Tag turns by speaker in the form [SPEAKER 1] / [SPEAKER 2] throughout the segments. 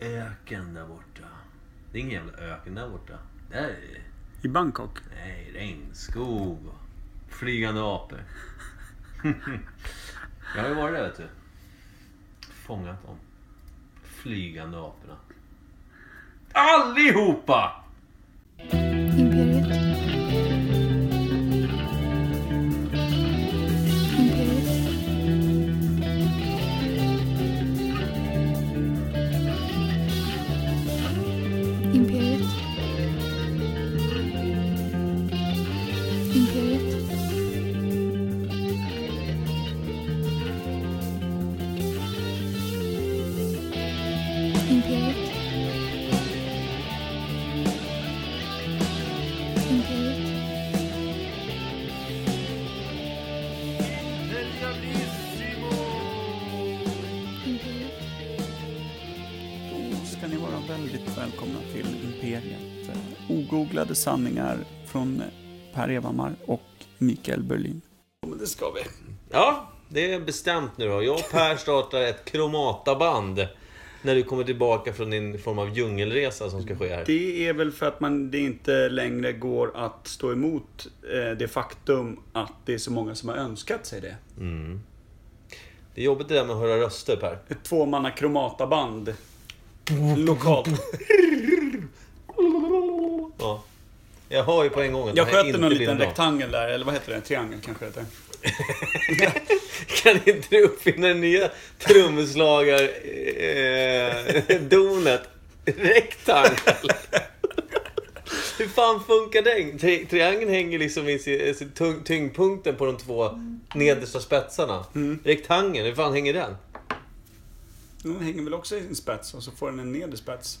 [SPEAKER 1] öken där borta. Det är ingen jävla öken där borta. Där är det.
[SPEAKER 2] I Bangkok?
[SPEAKER 1] Nej, regnskog och flygande apor. jag har ju varit där vet du. Fångat dem. Flygande aporna. Allihopa!
[SPEAKER 3] Imperiet. Imperiet. Imperiet. Imperiet. Imperiet. Imperiet. Imperiet.
[SPEAKER 2] Då ska ni vara väldigt välkomna till Imperiet. Eh, Ogooglade sanningar från Per Evhammar och Mikael Berlin. Men det ska vi.
[SPEAKER 1] Ja, det är bestämt nu då. Jag och Per startar ett kromataband. När du kommer tillbaka från din form av djungelresa som ska ske här.
[SPEAKER 2] Det är väl för att man, det inte längre går att stå emot eh, det faktum att det är så många som har önskat sig det.
[SPEAKER 1] Det är jobbigt det där med att höra röster Per.
[SPEAKER 2] Ett tvåmannakromataband. Lokalt.
[SPEAKER 1] Ja. Jag hör ju på en gång att
[SPEAKER 2] Jag
[SPEAKER 1] det här
[SPEAKER 2] sköter
[SPEAKER 1] inte
[SPEAKER 2] någon
[SPEAKER 1] blir
[SPEAKER 2] liten
[SPEAKER 1] bra.
[SPEAKER 2] rektangel där, eller vad heter det? Triangel kanske det heter.
[SPEAKER 1] Kan inte du uppfinna den nya eh, trumslagar-donet? Rektangel. Hur fan funkar den? Tri- triangeln hänger liksom i sin, sin tung- tyngdpunkten på de två nedersta spetsarna. Rektangeln, hur fan hänger den?
[SPEAKER 2] Den hänger väl också i sin spets och så får den en nedre spets.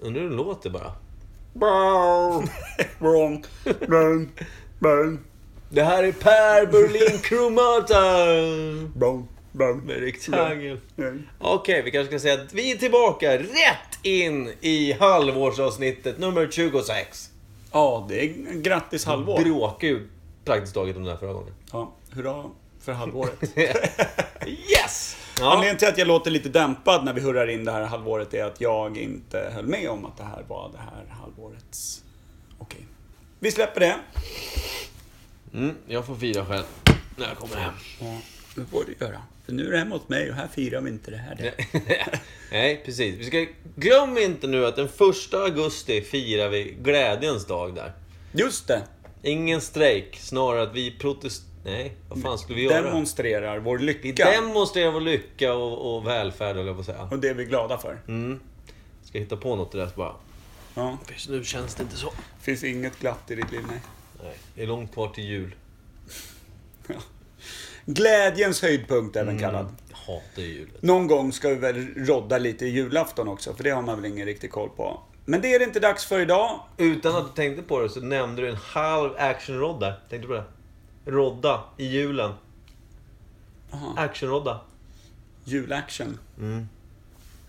[SPEAKER 1] Undrar hur den låter bara.
[SPEAKER 2] Wrong. Wrong. Wrong.
[SPEAKER 1] Det här är Per Berlin Cromata!
[SPEAKER 2] Wrong. Wrong.
[SPEAKER 1] Med rektangel.
[SPEAKER 2] Wrong.
[SPEAKER 1] Okej, vi kanske ska säga att vi är tillbaka rätt in i halvårsavsnittet nummer 26.
[SPEAKER 2] Ja, det är grattis halvår.
[SPEAKER 1] bråkade ju praktiskt taget om det här förra gången.
[SPEAKER 2] Ja, hurra för halvåret.
[SPEAKER 1] yes! Ja.
[SPEAKER 2] Anledningen till att jag låter lite dämpad när vi hurrar in det här halvåret är att jag inte höll med om att det här var det här halvårets... Okej. Vi släpper det.
[SPEAKER 1] Mm, jag får fira själv när jag kommer hem.
[SPEAKER 2] Ja, det får du göra. För nu är det hemma hos mig och här firar vi inte det här. Det.
[SPEAKER 1] Nej, precis. Vi ska, glöm inte nu att den första augusti firar vi glädjens dag där.
[SPEAKER 2] Just det!
[SPEAKER 1] Ingen strejk, snarare att vi protest... Nej, vad fan skulle vi göra?
[SPEAKER 2] Demonstrerar vår
[SPEAKER 1] Vi
[SPEAKER 2] lycka.
[SPEAKER 1] demonstrerar vår lycka och, och välfärd, höll jag på att säga.
[SPEAKER 2] och det är vi glada för.
[SPEAKER 1] Mm. Ska hitta på något till det bara.
[SPEAKER 2] Ja.
[SPEAKER 1] Just nu känns det inte så.
[SPEAKER 2] Finns inget glatt i ditt liv, nej.
[SPEAKER 1] Nej, det är långt kvar till jul.
[SPEAKER 2] Ja. Glädjens höjdpunkt, även
[SPEAKER 1] Mm.
[SPEAKER 2] kallad.
[SPEAKER 1] Jag hatar ju julen.
[SPEAKER 2] Någon gång ska vi väl rodda lite i julafton också, för det har man väl ingen riktig koll på. Men det är det inte dags för idag.
[SPEAKER 1] Utan att du tänkte på det så nämnde du en halv actionrodd där. Tänkte du på det? Rodda i julen.
[SPEAKER 2] Aha.
[SPEAKER 1] Actionrodda.
[SPEAKER 2] Julaction.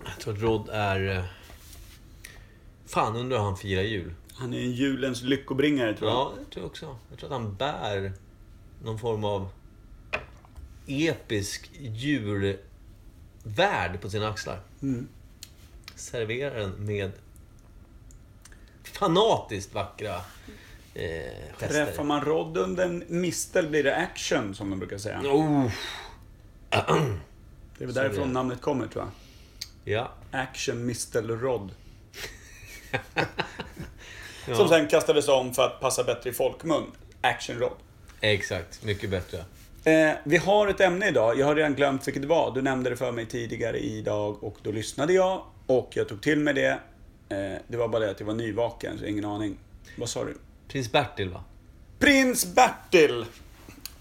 [SPEAKER 1] Jag tror att rodd är... eh, Fan, undrar hur han firar jul.
[SPEAKER 2] Han är en julens lyckobringare, tror jag.
[SPEAKER 1] Ja, det tror jag också. Jag tror att han bär någon form av episk julvärd på sina axlar. Serverar den med fanatiskt vackra eh,
[SPEAKER 2] Träffar
[SPEAKER 1] gester.
[SPEAKER 2] man rodd under en mistel blir det action, som de brukar säga.
[SPEAKER 1] Oh.
[SPEAKER 2] Det är väl
[SPEAKER 1] Så
[SPEAKER 2] därifrån
[SPEAKER 1] det-
[SPEAKER 2] namnet kommer, tror jag.
[SPEAKER 1] Ja.
[SPEAKER 2] Action mistel rodd.
[SPEAKER 1] ja.
[SPEAKER 2] Som sen kastades om för att passa bättre i folkmun. Action rodd.
[SPEAKER 1] Exakt, mycket bättre.
[SPEAKER 2] Eh, vi har ett ämne idag. Jag har redan glömt vilket det var. Du nämnde det för mig tidigare idag och då lyssnade jag och jag tog till mig det. Eh, det var bara det att jag var nyvaken, så ingen aning. Vad sa du?
[SPEAKER 1] Prins Bertil va?
[SPEAKER 2] Prins Bertil!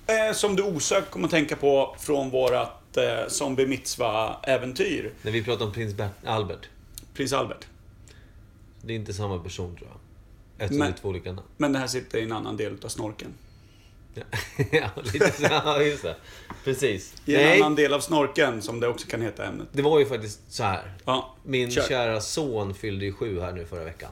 [SPEAKER 2] Eh, som du osökt kom att tänka på från vårat eh, Zombie Mitzva-äventyr.
[SPEAKER 1] När vi pratar om prins Bert- Albert.
[SPEAKER 2] Prins Albert.
[SPEAKER 1] Det är inte samma person tror jag. Eftersom
[SPEAKER 2] Men-
[SPEAKER 1] det är två olika namn.
[SPEAKER 2] Men det här sitter i en annan del av snorken.
[SPEAKER 1] Ja, ja, lite så, ja, just det. Precis.
[SPEAKER 2] I en annan
[SPEAKER 1] Nej,
[SPEAKER 2] del av snorken, som det också kan heta ämnet.
[SPEAKER 1] det var ju faktiskt så här.
[SPEAKER 2] Ja,
[SPEAKER 1] Min
[SPEAKER 2] kör.
[SPEAKER 1] kära son fyllde ju sju här nu förra veckan.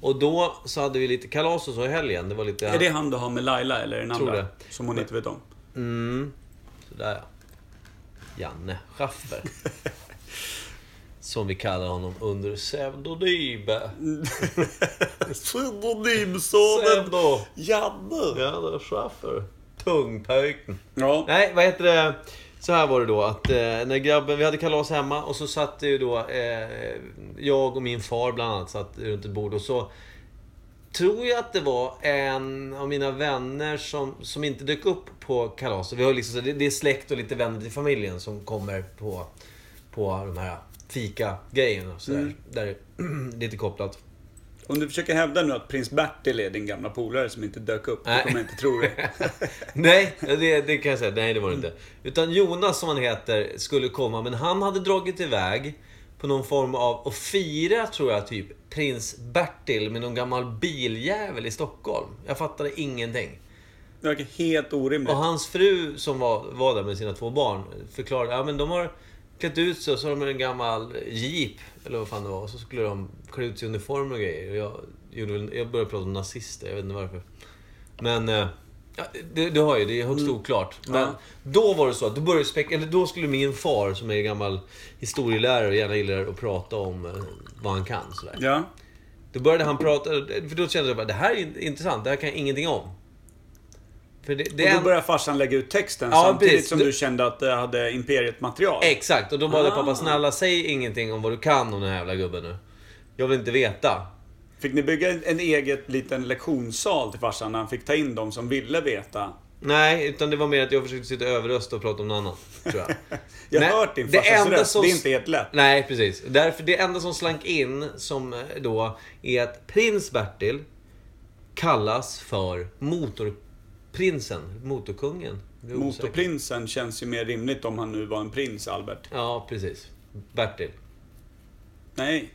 [SPEAKER 1] Och då så hade vi lite kalas och så i helgen. Det var lite...
[SPEAKER 2] Är det han du har med Laila, eller den
[SPEAKER 1] Tror
[SPEAKER 2] andra?
[SPEAKER 1] det.
[SPEAKER 2] Som hon inte vet om.
[SPEAKER 1] Mm. Sådär ja. Janne Schaffer. som vi kallar honom under pseudonym.
[SPEAKER 2] Synonymsonen
[SPEAKER 1] Pseudo.
[SPEAKER 2] Janne.
[SPEAKER 1] Ja, det är Schaffer. Tungpöjken.
[SPEAKER 2] Ja.
[SPEAKER 1] Nej, vad heter det? Så här var det då att eh, när grabben, vi hade kalas hemma och så satt det ju då eh, jag och min far bland annat satt runt ett bord och så tror jag att det var en av mina vänner som, som inte dök upp på kalaset. Vi har liksom, så det, det är släkt och lite vänner till familjen som kommer på, på de här fika-grejerna och sådär. Där det är lite kopplat.
[SPEAKER 2] Om du försöker hävda nu att prins Bertil är din gamla polare som inte dök upp, då
[SPEAKER 1] Nej.
[SPEAKER 2] kommer jag inte tro det.
[SPEAKER 1] Nej, det, det kan jag säga. Nej, det var det inte. Utan Jonas, som han heter, skulle komma. Men han hade dragit iväg på någon form av... Och fira, tror jag, typ prins Bertil med någon gammal biljävel i Stockholm. Jag fattade ingenting.
[SPEAKER 2] Det verkar helt orimligt.
[SPEAKER 1] Och hans fru, som var, var där med sina två barn, förklarade att ja, men de har klätt ut sig och så har de en gammal jeep, eller vad fan det var. Och så skulle de klä ut sig i uniform och grejer. Och jag, gjorde, väl- jag började prata om nazister, jag vet inte varför. Men... eh, Ja, det, det har ju, det är högst oklart. Men
[SPEAKER 2] Mm. Ja.
[SPEAKER 1] då var det så att då, började spek- eller då skulle min far, som är gammal historielärare och gärna gillar att prata om eh, vad han kan. Sådär.
[SPEAKER 2] Ja.
[SPEAKER 1] Då började han prata, för då kände jag bara det här är in- intressant, det här kan jag ingenting om. För det, det
[SPEAKER 2] Och
[SPEAKER 1] är
[SPEAKER 2] då börjar farsan lägga ut texten
[SPEAKER 1] Ja,
[SPEAKER 2] samtidigt
[SPEAKER 1] precis.
[SPEAKER 2] som
[SPEAKER 1] Du-
[SPEAKER 2] du kände att det hade Imperiet-material.
[SPEAKER 1] Exakt, och då bad jag
[SPEAKER 2] Ah.
[SPEAKER 1] pappa snälla säg ingenting om vad du kan om den här jävla gubben nu. Jag vill inte veta.
[SPEAKER 2] Fick ni bygga en, en eget liten lektionssal till farsan när han fick ta in de som ville veta?
[SPEAKER 1] Nej, utan det var mer att jag försökte sitta överröst och prata om någon annan. Tror jag.
[SPEAKER 2] Jag har
[SPEAKER 1] Nej,
[SPEAKER 2] hört din
[SPEAKER 1] det
[SPEAKER 2] farsas
[SPEAKER 1] enda
[SPEAKER 2] röst,
[SPEAKER 1] som-
[SPEAKER 2] det är inte helt lätt.
[SPEAKER 1] Nej, precis. Därför, det enda som slank in som eh, då är att prins Bertil kallas för motorprinsen, motorkungen. Det är osäkert.
[SPEAKER 2] Motorprinsen känns ju mer rimligt om han nu var en prins, Albert.
[SPEAKER 1] Ja, precis. Bertil.
[SPEAKER 2] Nej,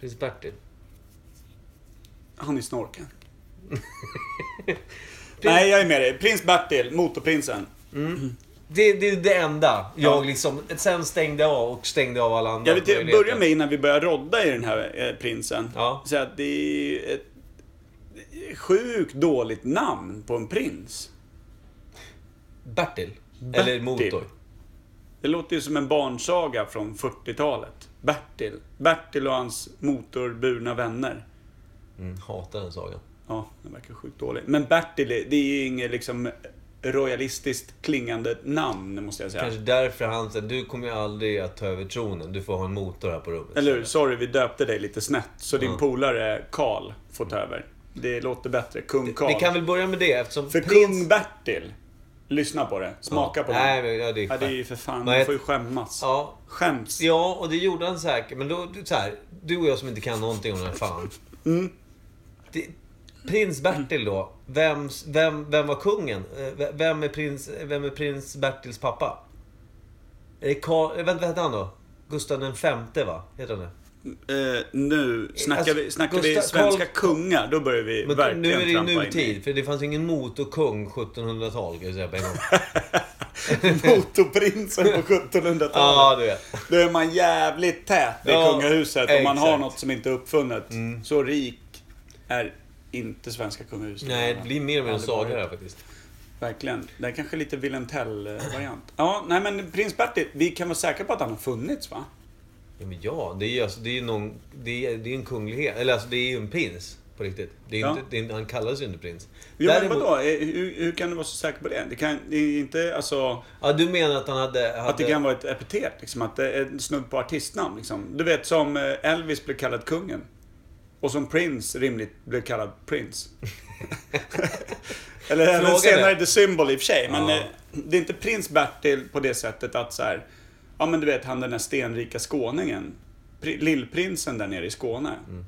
[SPEAKER 1] Prins Bertil.
[SPEAKER 2] han är snorken. Nej, jag är med dig. Prins Bertil, Motorprinsen.
[SPEAKER 1] Det, det är det enda jag
[SPEAKER 2] Ja.
[SPEAKER 1] liksom... Sen stängde jag av och stängde av alla andra
[SPEAKER 2] Jag vill till,
[SPEAKER 1] möjligheter.
[SPEAKER 2] börja med innan vi börjar rodda i den här eh, prinsen.
[SPEAKER 1] Ja.
[SPEAKER 2] Så att det är ju ett sjukt dåligt namn på en prins.
[SPEAKER 1] Bertil.
[SPEAKER 2] Bertil.
[SPEAKER 1] Eller motor.
[SPEAKER 2] Det låter ju som en barnsaga från 40-talet. Bertil. Bertil och hans motorburna vänner.
[SPEAKER 1] Mm, hatar den sagan.
[SPEAKER 2] Ja, den verkar sjukt dålig. Men Bertil, är- det är ju inget liksom royalistiskt klingande namn, måste jag säga.
[SPEAKER 1] Kanske därför han säger du kommer ju aldrig att ta över tronen. Du får ha en motor här på rummet.
[SPEAKER 2] Eller hur? Sorry, vi döpte dig lite snett. Så din
[SPEAKER 1] Ja.
[SPEAKER 2] polare Karl får ta över. Det låter bättre. Kung Karl.
[SPEAKER 1] Vi kan väl börja med det eftersom
[SPEAKER 2] För kung Bertil, lyssna på det. Smaka
[SPEAKER 1] Ja.
[SPEAKER 2] på det.
[SPEAKER 1] Nej, men, ja, det är
[SPEAKER 2] Ja, det är ju
[SPEAKER 1] skönt.
[SPEAKER 2] för fan,
[SPEAKER 1] Vad
[SPEAKER 2] man
[SPEAKER 1] het-
[SPEAKER 2] får ju skämmas.
[SPEAKER 1] Ja.
[SPEAKER 2] Skäms.
[SPEAKER 1] Ja, och det gjorde han säkert. Men då, du- så här, du och jag som inte kan någonting om den här fan. Det, prins Bertil då. Vem, vem, vem var kungen? Eh, v- Vem är prins, vem är prins Bertils pappa? Är det Karl, eh, vänta, vad hette han då? Gustav den femte va? Heter han det?
[SPEAKER 2] Eh, nu, snackar,
[SPEAKER 1] Alltså,
[SPEAKER 2] vi, snackar vi
[SPEAKER 1] Gustav-
[SPEAKER 2] svenska
[SPEAKER 1] Karl-
[SPEAKER 2] kungar, då börjar vi
[SPEAKER 1] Men
[SPEAKER 2] verkligen
[SPEAKER 1] nu är det ju
[SPEAKER 2] trampa in i
[SPEAKER 1] nutid, för det fanns ju ingen motorkung 1700-tal kan jag säga på en gång.
[SPEAKER 2] Motorprinsen på 1700-talet.
[SPEAKER 1] Ja, du vet.
[SPEAKER 2] Då är man jävligt tät i
[SPEAKER 1] Ja,
[SPEAKER 2] kungahuset om man har
[SPEAKER 1] exakt. Mm.
[SPEAKER 2] något som inte är uppfunnet. Så rik är inte svenska kungahuset.
[SPEAKER 1] Nej, det blir mer och mer en
[SPEAKER 2] Aldrig varit.
[SPEAKER 1] saga här faktiskt.
[SPEAKER 2] Verkligen. Det är kanske lite Wilhelm Tell-variant. Ja, nej men prins Bertil, vi kan vara säkra på att han har funnits va?
[SPEAKER 1] Ja, men ja, det är ju alltså, det är ju någon, det är, det är en kunglighet. Eller alltså, det är ju en prins. På riktigt. Det är ju
[SPEAKER 2] Ja.
[SPEAKER 1] inte, det är, inte- han kallas ju inte prins.
[SPEAKER 2] Jo, men vadå? Eh, Hur, hur kan du vara så säker på det? Det, kan, det är inte alltså...
[SPEAKER 1] Ja, du menar att han hade... hade
[SPEAKER 2] Att det kan vara ett epitet, liksom. Att det är snudd på artistnamn, liksom. Du vet, som eh, Elvis blev kallad kungen. Och som Prince rimligt blev kallad Prince. Eller även
[SPEAKER 1] Frågan
[SPEAKER 2] senare
[SPEAKER 1] är-
[SPEAKER 2] The Symbol i och för sig. Men
[SPEAKER 1] Ja.
[SPEAKER 2] eh, det är inte Prins Bertil på det sättet att så här, Ja, men du vet, han den där stenrika skåningen. Pri- Lillprinsen där nere i Skåne.
[SPEAKER 1] Mm.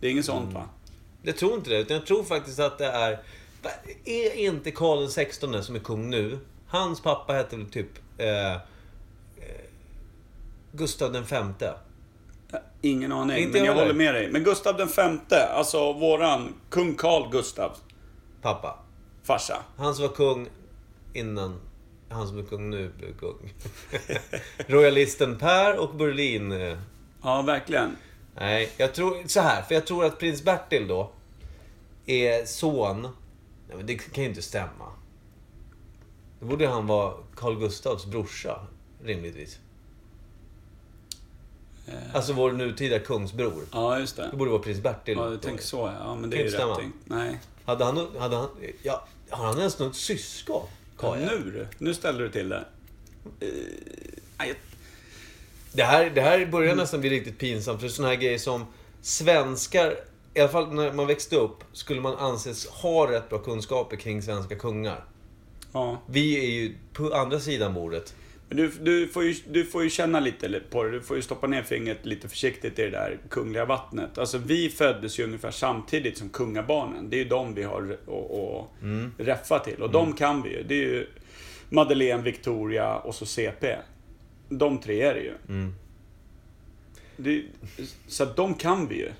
[SPEAKER 2] Det är inget sånt, va?
[SPEAKER 1] Jag tror inte det. Utan jag tror faktiskt att det är... Va, Är inte Karl den 16 som är kung nu? Hans pappa hette väl typ... Eh, eh, Gustav den femte.
[SPEAKER 2] Ingen aning,
[SPEAKER 1] Inte
[SPEAKER 2] men jag
[SPEAKER 1] jag heller.
[SPEAKER 2] håller med dig. Men Gustav den femte, alltså våran kung Carl Gustav,
[SPEAKER 1] Pappa.
[SPEAKER 2] farsa.
[SPEAKER 1] Han som var kung innan han som är kung nu blev kung. Royalisten Per och Berlin. eh,
[SPEAKER 2] Ja, verkligen.
[SPEAKER 1] Nej, jag tror så här. För jag tror att prins Bertil då är son... Nej, men det kan ju inte stämma. Då borde han vara Carl Gustavs brorsa, rimligtvis.
[SPEAKER 2] Eh.
[SPEAKER 1] Alltså vår nutida kungsbror.
[SPEAKER 2] Ja, just det.
[SPEAKER 1] Det borde vara prins Bertil.
[SPEAKER 2] Ja, du tänker så. ja. Ja, men det
[SPEAKER 1] Kan
[SPEAKER 2] är ju
[SPEAKER 1] inte
[SPEAKER 2] rätt
[SPEAKER 1] stämma.
[SPEAKER 2] tänkt. Nej.
[SPEAKER 1] Hade han, hade han, ja, har han ens något syskon?
[SPEAKER 2] Ja,
[SPEAKER 1] Kaja?
[SPEAKER 2] nu du. Nu ställer du till det. Eh, nej,
[SPEAKER 1] Det här, det här börjar nästan bli riktigt pinsamt. För sådana här grejer som svenskar, i alla fall när man växte upp, skulle man anses ha rätt bra kunskaper kring svenska kungar.
[SPEAKER 2] ja.
[SPEAKER 1] Vi är ju på andra sidan bordet.
[SPEAKER 2] Men du, du, får ju, du får ju känna lite på det. Du får ju stoppa ner fingret lite försiktigt i det där kungliga vattnet. Alltså vi föddes ju ungefär samtidigt som kungabarnen. Det är ju de vi har att mm. räffa till. Och de kan vi ju. Det är ju Madeleine, Victoria och så CP. De tre är det ju.
[SPEAKER 1] Mm.
[SPEAKER 2] Det, så att de kan vi ju.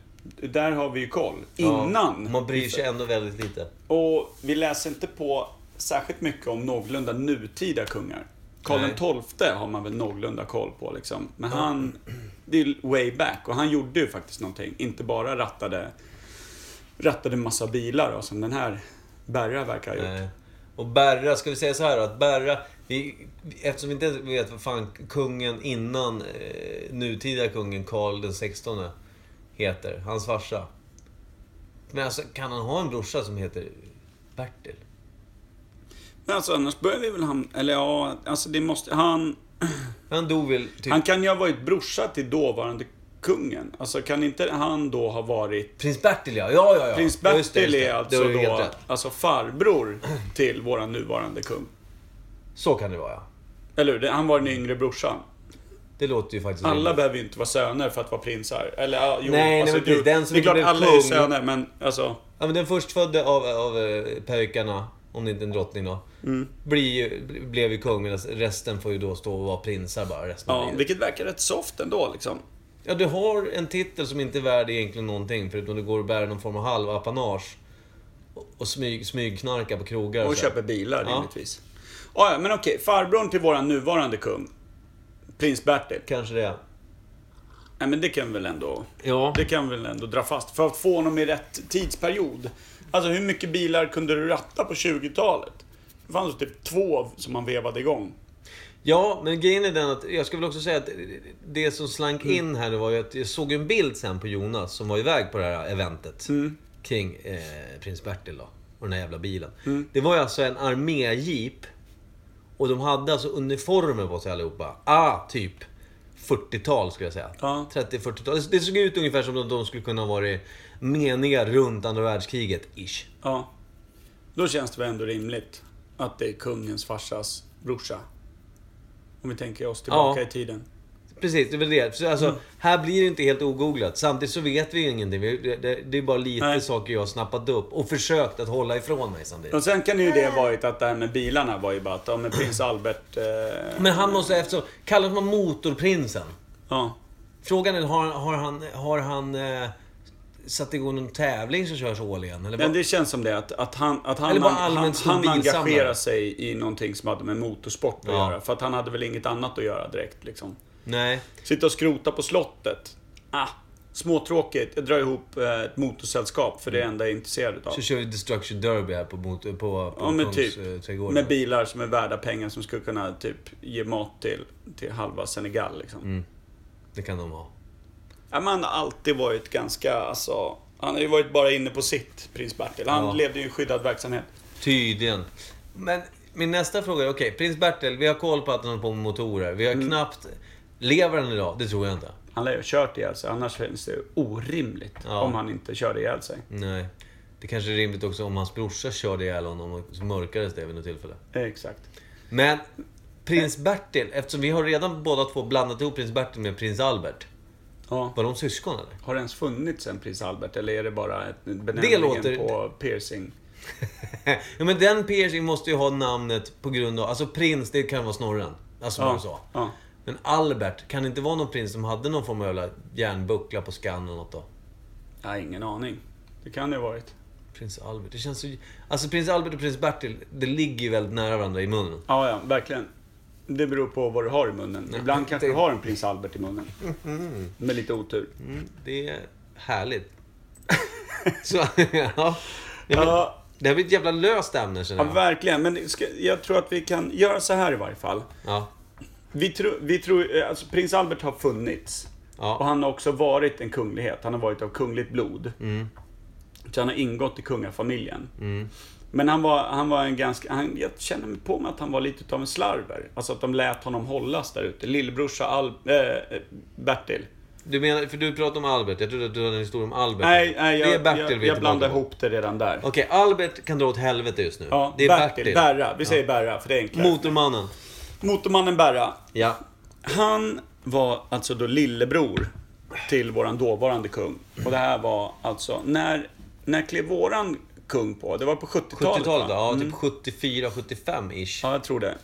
[SPEAKER 2] Där har vi ju koll. Innan.
[SPEAKER 1] Ja, man bryr sig ändå väldigt lite.
[SPEAKER 2] Och vi läser inte på särskilt mycket om någorlunda nutida kungar.
[SPEAKER 1] Nej.
[SPEAKER 2] Karl XII har man väl någorlunda koll på liksom. Men han, det är way back och han gjorde ju faktiskt någonting. Inte bara rattade, rattade en massa bilar då, som den här Berra verkar ha gjort.
[SPEAKER 1] Nej. Eh, Och Berra, ska vi säga så här då? Att Berra, vi, eftersom vi inte ens vet vad fan kungen innan eh, nutida kungen Karl den 16 heter, hans farsa. Men alltså, kan han ha en brorsa som heter Bertil?
[SPEAKER 2] Men alltså annars börjar vi väl han, eller ja, alltså det måste, han,
[SPEAKER 1] Han dog väl typ...
[SPEAKER 2] han kan ju ha varit brorsa till dåvarande kungen. Alltså kan inte han då ha varit
[SPEAKER 1] Prins Bertil ja, ja, ja. ja.
[SPEAKER 2] Prins
[SPEAKER 1] Ja,
[SPEAKER 2] Bertil
[SPEAKER 1] just det, just det.
[SPEAKER 2] är
[SPEAKER 1] Det
[SPEAKER 2] alltså
[SPEAKER 1] var ju helt
[SPEAKER 2] då
[SPEAKER 1] rätt.
[SPEAKER 2] alltså farbror till våran nuvarande kung.
[SPEAKER 1] Så kan det vara ja.
[SPEAKER 2] Eller hur? Det- Han var den yngre brorsan.
[SPEAKER 1] Mm. Det låter ju faktiskt
[SPEAKER 2] Alla
[SPEAKER 1] rimligt.
[SPEAKER 2] behöver ju inte vara söner för att vara prinsar. Eller ja, jo,
[SPEAKER 1] Nej, nej,
[SPEAKER 2] alltså,
[SPEAKER 1] men precis. Den som
[SPEAKER 2] Det är
[SPEAKER 1] inte
[SPEAKER 2] klart
[SPEAKER 1] blev
[SPEAKER 2] alla är ju
[SPEAKER 1] kung.
[SPEAKER 2] söner, men alltså...
[SPEAKER 1] Ja, men den förstfödde av, av eh, pojkarna, om det inte är en drottning då,
[SPEAKER 2] Mm.
[SPEAKER 1] blir, ju- blev ju kung medan resten får ju då stå och vara prinsar bara resten av
[SPEAKER 2] Ja,
[SPEAKER 1] livet.
[SPEAKER 2] vilket verkar rätt soft ändå liksom.
[SPEAKER 1] Ja, du har en titel som inte är värd egentligen någonting förutom du går och bär någon form av halvapanage. Och, och smyg, smygknarkar på krogar
[SPEAKER 2] Och
[SPEAKER 1] så.
[SPEAKER 2] köper bilar
[SPEAKER 1] Ja.
[SPEAKER 2] rimligtvis. Ja, ja, men okej. Farbrorn till våran nuvarande kung. Prins Bertil.
[SPEAKER 1] Kanske det.
[SPEAKER 2] Nej, men det kan vi väl ändå...
[SPEAKER 1] Ja.
[SPEAKER 2] Det kan vi väl ändå dra fast. För att få honom i rätt tidsperiod. Alltså hur mycket bilar kunde du ratta på 20-talet? Det fanns ju typ två som man vevade igång.
[SPEAKER 1] Ja, men grejen är den att jag ska väl också säga att det som slank in här nu var ju att jag såg en bild sen på Jonas som var iväg på det här eventet. Kring eh, prins Bertil då. Och den här jävla bilen. Det var ju alltså en arméjeep. Och de hade alltså uniformer på sig allihopa. Ah, typ 40-tal skulle jag säga.
[SPEAKER 2] Ja.
[SPEAKER 1] 30-40-tal. Det- Det såg ut ungefär som att de skulle kunna ha varit meniga runt andra världskriget, ish.
[SPEAKER 2] Ja. Då känns det väl ändå rimligt att det är kungens farsas brorsa. Om vi tänker oss tillbaka
[SPEAKER 1] Ja.
[SPEAKER 2] i tiden.
[SPEAKER 1] Precis, det är väl det. Så Alltså,
[SPEAKER 2] Mm.
[SPEAKER 1] Här blir det inte helt ogooglat. Samtidigt så vet vi ju ingenting. Vi- Det, det, det är bara lite
[SPEAKER 2] Nej.
[SPEAKER 1] saker jag har snappat upp och försökt att hålla ifrån mig samtidigt.
[SPEAKER 2] Och sen kan ju det varit att det här med bilarna var ju bara att, ja men prins Albert... Eh,
[SPEAKER 1] Men han måste, eftersom... Kallas man motorprinsen?
[SPEAKER 2] ja.
[SPEAKER 1] Frågan är, har, har han, har han eh, satt igång någon tävling som körs årligen? Eller
[SPEAKER 2] Men
[SPEAKER 1] vad?
[SPEAKER 2] det känns som det att, att han, att han,
[SPEAKER 1] Eller bara
[SPEAKER 2] han, han,
[SPEAKER 1] allmänt stor
[SPEAKER 2] han
[SPEAKER 1] bilsamlare.
[SPEAKER 2] engagerar sig i någonting som hade med motorsport att
[SPEAKER 1] Ja.
[SPEAKER 2] göra. För att han hade väl inget annat att göra direkt liksom.
[SPEAKER 1] Nej.
[SPEAKER 2] Sitta och skrota på slottet. Ah, småtråkigt. Jag drar ihop eh, ett motorsällskap för det är det enda jag är intresserad utav.
[SPEAKER 1] Så kör vi Destruction Derby här på, mot, på, på
[SPEAKER 2] Ja men typ.
[SPEAKER 1] Kungsträdgården.
[SPEAKER 2] Med bilar som är värda pengar som skulle kunna typ ge mat till, till halva Senegal liksom.
[SPEAKER 1] Mm. Det kan de ha.
[SPEAKER 2] Ja, men han har alltid varit ganska, alltså. Han har ju varit bara inne på sitt, prins Bertil. Han
[SPEAKER 1] Ja.
[SPEAKER 2] levde ju i skyddad verksamhet.
[SPEAKER 1] Tydligen. Men min nästa fråga är, okej, prins Bertil, vi har koll på att han håller på med motorer. Vi har knappt... Lever han idag? Det tror jag inte.
[SPEAKER 2] Han lär ju ha kört ihjäl sig, annars känns det ju orimligt
[SPEAKER 1] Ja.
[SPEAKER 2] om han inte körde ihjäl sig.
[SPEAKER 1] Nej. Det kanske är rimligt också om hans brorsa körde ihjäl honom och så mörkades det vid något tillfälle.
[SPEAKER 2] Exakt.
[SPEAKER 1] Men prins Bertil, eftersom vi har redan båda två blandat ihop prins Bertil med prins Albert.
[SPEAKER 2] Ja.
[SPEAKER 1] Var de syskon eller?
[SPEAKER 2] Har det ens funnits en prins Albert eller är det bara ett en benämning
[SPEAKER 1] Det låter-
[SPEAKER 2] på piercing?
[SPEAKER 1] ja, men den piercing måste ju ha namnet på grund av... Alltså prins, det kan vara snorren. Alltså vad du sa.
[SPEAKER 2] ja.
[SPEAKER 1] Men Albert, kan det inte vara någon prins som hade någon form av jävla järnbuckla på skallen eller något då?
[SPEAKER 2] Jag har ingen aning. Det kan det ha varit.
[SPEAKER 1] Prins Albert. Det känns så... Alltså prins Albert och prins Bertil, det ligger ju väldigt nära varandra i munnen.
[SPEAKER 2] Ja, ja, verkligen. Det beror på vad du har i munnen. Ibland kanske du har en prins Albert i munnen. Med lite otur.
[SPEAKER 1] Mm. Det är härligt. så, ja. Nej, men,
[SPEAKER 2] Ja,
[SPEAKER 1] Det här blir ett jävla löst ämne
[SPEAKER 2] ja,
[SPEAKER 1] känner jag.
[SPEAKER 2] verkligen. Men ska, jag tror att vi kan göra så här i varje fall.
[SPEAKER 1] Ja.
[SPEAKER 2] Vi tror... Vi tror eh, alltså, prins Albert har funnits.
[SPEAKER 1] Ja.
[SPEAKER 2] Och han har också varit en kunglighet. Han har varit av kungligt blod. Så han har ingått i kungafamiljen. Men han var, han var en ganska... Han, jag känner mig på mig att han var lite av en slarver. Alltså att de lät honom hållas där ute. Lillebrorsa Al, eh, Bertil.
[SPEAKER 1] Du menar, för du pratade om Albert. Jag trodde att du hade en historia om Albert.
[SPEAKER 2] Nej, nej jag,
[SPEAKER 1] det är Bertil vi
[SPEAKER 2] jag,
[SPEAKER 1] är
[SPEAKER 2] jag
[SPEAKER 1] tillbaka
[SPEAKER 2] blandar
[SPEAKER 1] på.
[SPEAKER 2] ihop det redan där.
[SPEAKER 1] Okej, Albert kan dra åt helvete just nu.
[SPEAKER 2] Ja,
[SPEAKER 1] det är
[SPEAKER 2] Bertil.
[SPEAKER 1] Bertil.
[SPEAKER 2] Berra. Vi säger Berra, för det är enklare.
[SPEAKER 1] Motormannen.
[SPEAKER 2] Motormannen Berra.
[SPEAKER 1] Ja.
[SPEAKER 2] Han var alltså då lillebror till våran dåvarande kung. Och det här var alltså, när, när klev våran kung på? Det var på 70-talet
[SPEAKER 1] 70-talet
[SPEAKER 2] va? Mm.
[SPEAKER 1] ja. Typ 74, 75 ish.
[SPEAKER 2] Ja, jag tror det.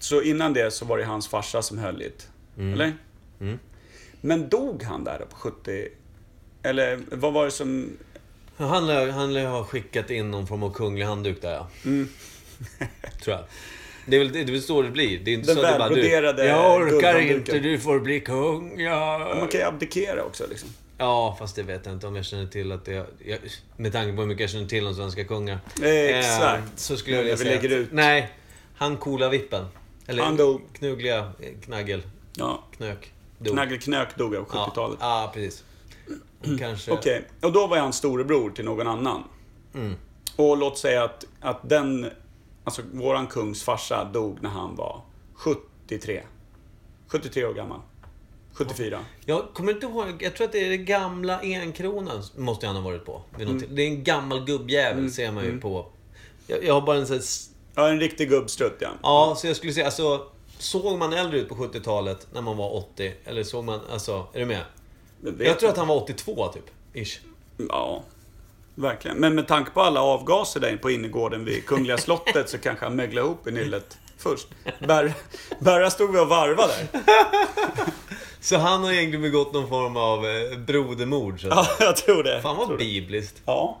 [SPEAKER 2] Så innan det så var det hans farsa som höll it.
[SPEAKER 1] Mm.
[SPEAKER 2] Eller? Men dog han där på 70... Eller vad var det som...
[SPEAKER 1] Han lär, han lär ha skickat in någon form av kunglig handduk där ja.
[SPEAKER 2] Mm.
[SPEAKER 1] Tror jag. Det är väl det, det är väl så det blir. Det är inte
[SPEAKER 2] Den
[SPEAKER 1] så att det bara du,
[SPEAKER 2] välbroderade
[SPEAKER 1] Jag orkar
[SPEAKER 2] guldhandduken."
[SPEAKER 1] inte, du får bli kung. Jag...
[SPEAKER 2] Man kan ju abdikera också liksom.
[SPEAKER 1] Ja, fast det vet jag inte om jag känner till att det... Jag, med tanke på hur mycket jag känner till om svenska kungar.
[SPEAKER 2] Exakt.
[SPEAKER 1] Eh, så skulle jag
[SPEAKER 2] Nu
[SPEAKER 1] vilja
[SPEAKER 2] när vi
[SPEAKER 1] säga...
[SPEAKER 2] lägger
[SPEAKER 1] att-
[SPEAKER 2] ut.
[SPEAKER 1] Nej. Han coola vippen. Eller
[SPEAKER 2] Han dog.
[SPEAKER 1] knugliga eh, knaggel.
[SPEAKER 2] Ja.
[SPEAKER 1] Knök. Dog.
[SPEAKER 2] Nagelknök dog av
[SPEAKER 1] Ja.
[SPEAKER 2] 70-talet.
[SPEAKER 1] Ja, precis. Kanske...
[SPEAKER 2] Okej, och då var jag en storebror till någon annan.
[SPEAKER 1] Mm.
[SPEAKER 2] Och låt säga att, att den, alltså våran kungs farsa dog när han var 73. 73 år gammal. 74.
[SPEAKER 1] Jag kommer inte ihåg. Jag tror att det är den gamla enkronan. Måste han ha varit på. Vid något
[SPEAKER 2] Mm.
[SPEAKER 1] till- Det är en gammal gubbjävel ser man ju på. Jag, jag har bara en sån här... s-
[SPEAKER 2] Ja, en riktig gubbstrutt ja.
[SPEAKER 1] Ja, så jag skulle säga alltså. Såg man äldre ut på 70-talet när man var 80? Eller såg man... Alltså, är du med?
[SPEAKER 2] Men vet
[SPEAKER 1] Jag tror att han var 82 typ. Ish.
[SPEAKER 2] Ja, verkligen. Men med tanke på alla avgaser där inne på innergården vid Kungliga slottet så kanske han möglade ihop i nyllet först. Berra, Berra stod vi och varvade där.
[SPEAKER 1] Så han har egentligen begått någon form av eh, brodermord. Så att
[SPEAKER 2] Ja,
[SPEAKER 1] säga.
[SPEAKER 2] jag tror det.
[SPEAKER 1] Fan vad bibliskt.
[SPEAKER 2] Ja,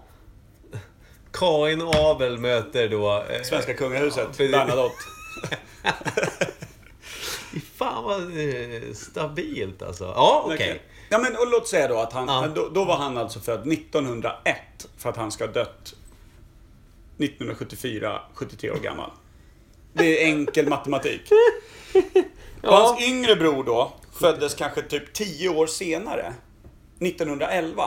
[SPEAKER 1] Kain och Abel möter då... eh,
[SPEAKER 2] svenska kungahuset.
[SPEAKER 1] precis.
[SPEAKER 2] Bernadotte.
[SPEAKER 1] Fan vad eh, stabilt alltså. Ja, okej.
[SPEAKER 2] Okej. Ja, men och låt säga då att han,
[SPEAKER 1] Ja.
[SPEAKER 2] då, då var han alltså född 1901 för att han ska ha dött 1974, 73 år gammal. Det är enkel matematik. Och hans yngre bror då föddes kanske typ 10 år senare. 1911.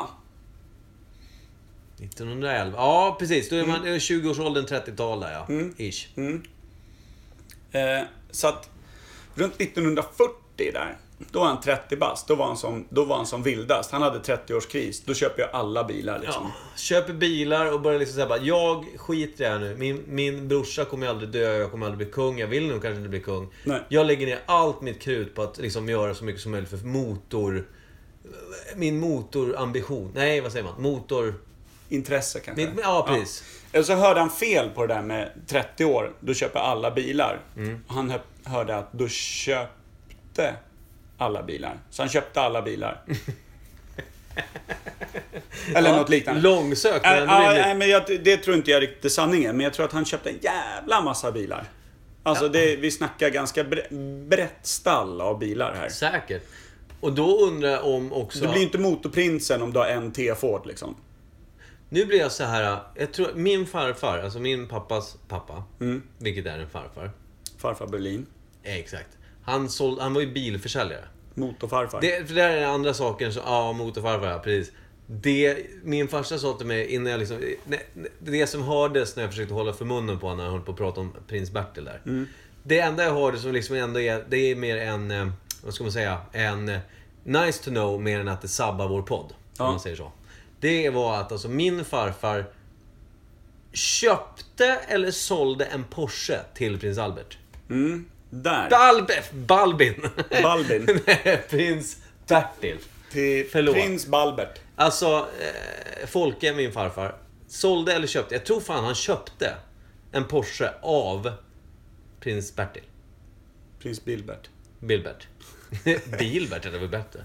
[SPEAKER 1] 1911. Ja, precis. Då är man mm. 20-årsåldern, 30-tal där ja.
[SPEAKER 2] Mm.
[SPEAKER 1] Ish.
[SPEAKER 2] Eh, så att runt 1940 där, då var han 30 bast. Då var han som, då var han som vildast. Han hade 30-årskris. Då köper jag alla bilar liksom.
[SPEAKER 1] Ja. Köper bilar och börjar liksom säga bara, jag skiter i det här nu. Min, min brorsa kommer ju aldrig dö, jag kommer aldrig bli kung, jag vill nog kanske inte bli kung.
[SPEAKER 2] Nej.
[SPEAKER 1] Jag lägger ner allt mitt krut på att liksom göra så mycket som möjligt för motor... Min motorambition. Nej, vad säger man? Motor...
[SPEAKER 2] Intresse kanske.
[SPEAKER 1] Min, ja, precis.
[SPEAKER 2] Eller så hörde han fel på det där med 30 år, då köper alla bilar.
[SPEAKER 1] Mm.
[SPEAKER 2] Och han hö- hörde att då köpte alla bilar. Så han köpte alla bilar. Eller något liknande.
[SPEAKER 1] Långsökt, men
[SPEAKER 2] Nej,
[SPEAKER 1] ändå
[SPEAKER 2] ja,
[SPEAKER 1] rimligt.
[SPEAKER 2] nej, men jag, det tror inte jag riktigt är sanningen. Men jag tror att han köpte en jävla massa bilar. Alltså det, vi snackar ganska bre- brett stall av bilar här.
[SPEAKER 1] Säkert. Och då undrar jag om också...
[SPEAKER 2] Du blir ju inte motorprinsen om du har en T-Ford liksom.
[SPEAKER 1] Nu blir jag så här. Jag tror, min farfar, alltså min pappas pappa, vilket är en farfar.
[SPEAKER 2] Farfar Berlin.
[SPEAKER 1] Eh, Exakt. Han, såld, han var ju bilförsäljare.
[SPEAKER 2] Motorfarfar.
[SPEAKER 1] Det, för det här är den andra saken, som, ja, motorfarfar, ja, precis. Det, min farsa sa till mig innan jag liksom, ne- ne- Det som hördes när jag försökte hålla för munnen på honom när han höll på att prata om prins Bertil där. Det enda jag hörde som liksom ändå är, det är mer en, eh, vad ska man säga, en eh, nice to know mer än att det sabbar vår podd.
[SPEAKER 2] Ja.
[SPEAKER 1] Om man säger så. Det var att alltså min farfar köpte eller sålde en Porsche till prins Albert.
[SPEAKER 2] Där.
[SPEAKER 1] Albert Balbin!
[SPEAKER 2] Balbin.
[SPEAKER 1] Nej, prins Bertil.
[SPEAKER 2] Till
[SPEAKER 1] Förlåt.
[SPEAKER 2] Prins Balbert.
[SPEAKER 1] Alltså, eh, Folke, min farfar, sålde eller köpte? Jag tror fan han köpte en Porsche av prins Bertil.
[SPEAKER 2] Prins Bilbert.
[SPEAKER 1] Bilbert. Bilbert hade väl bättre.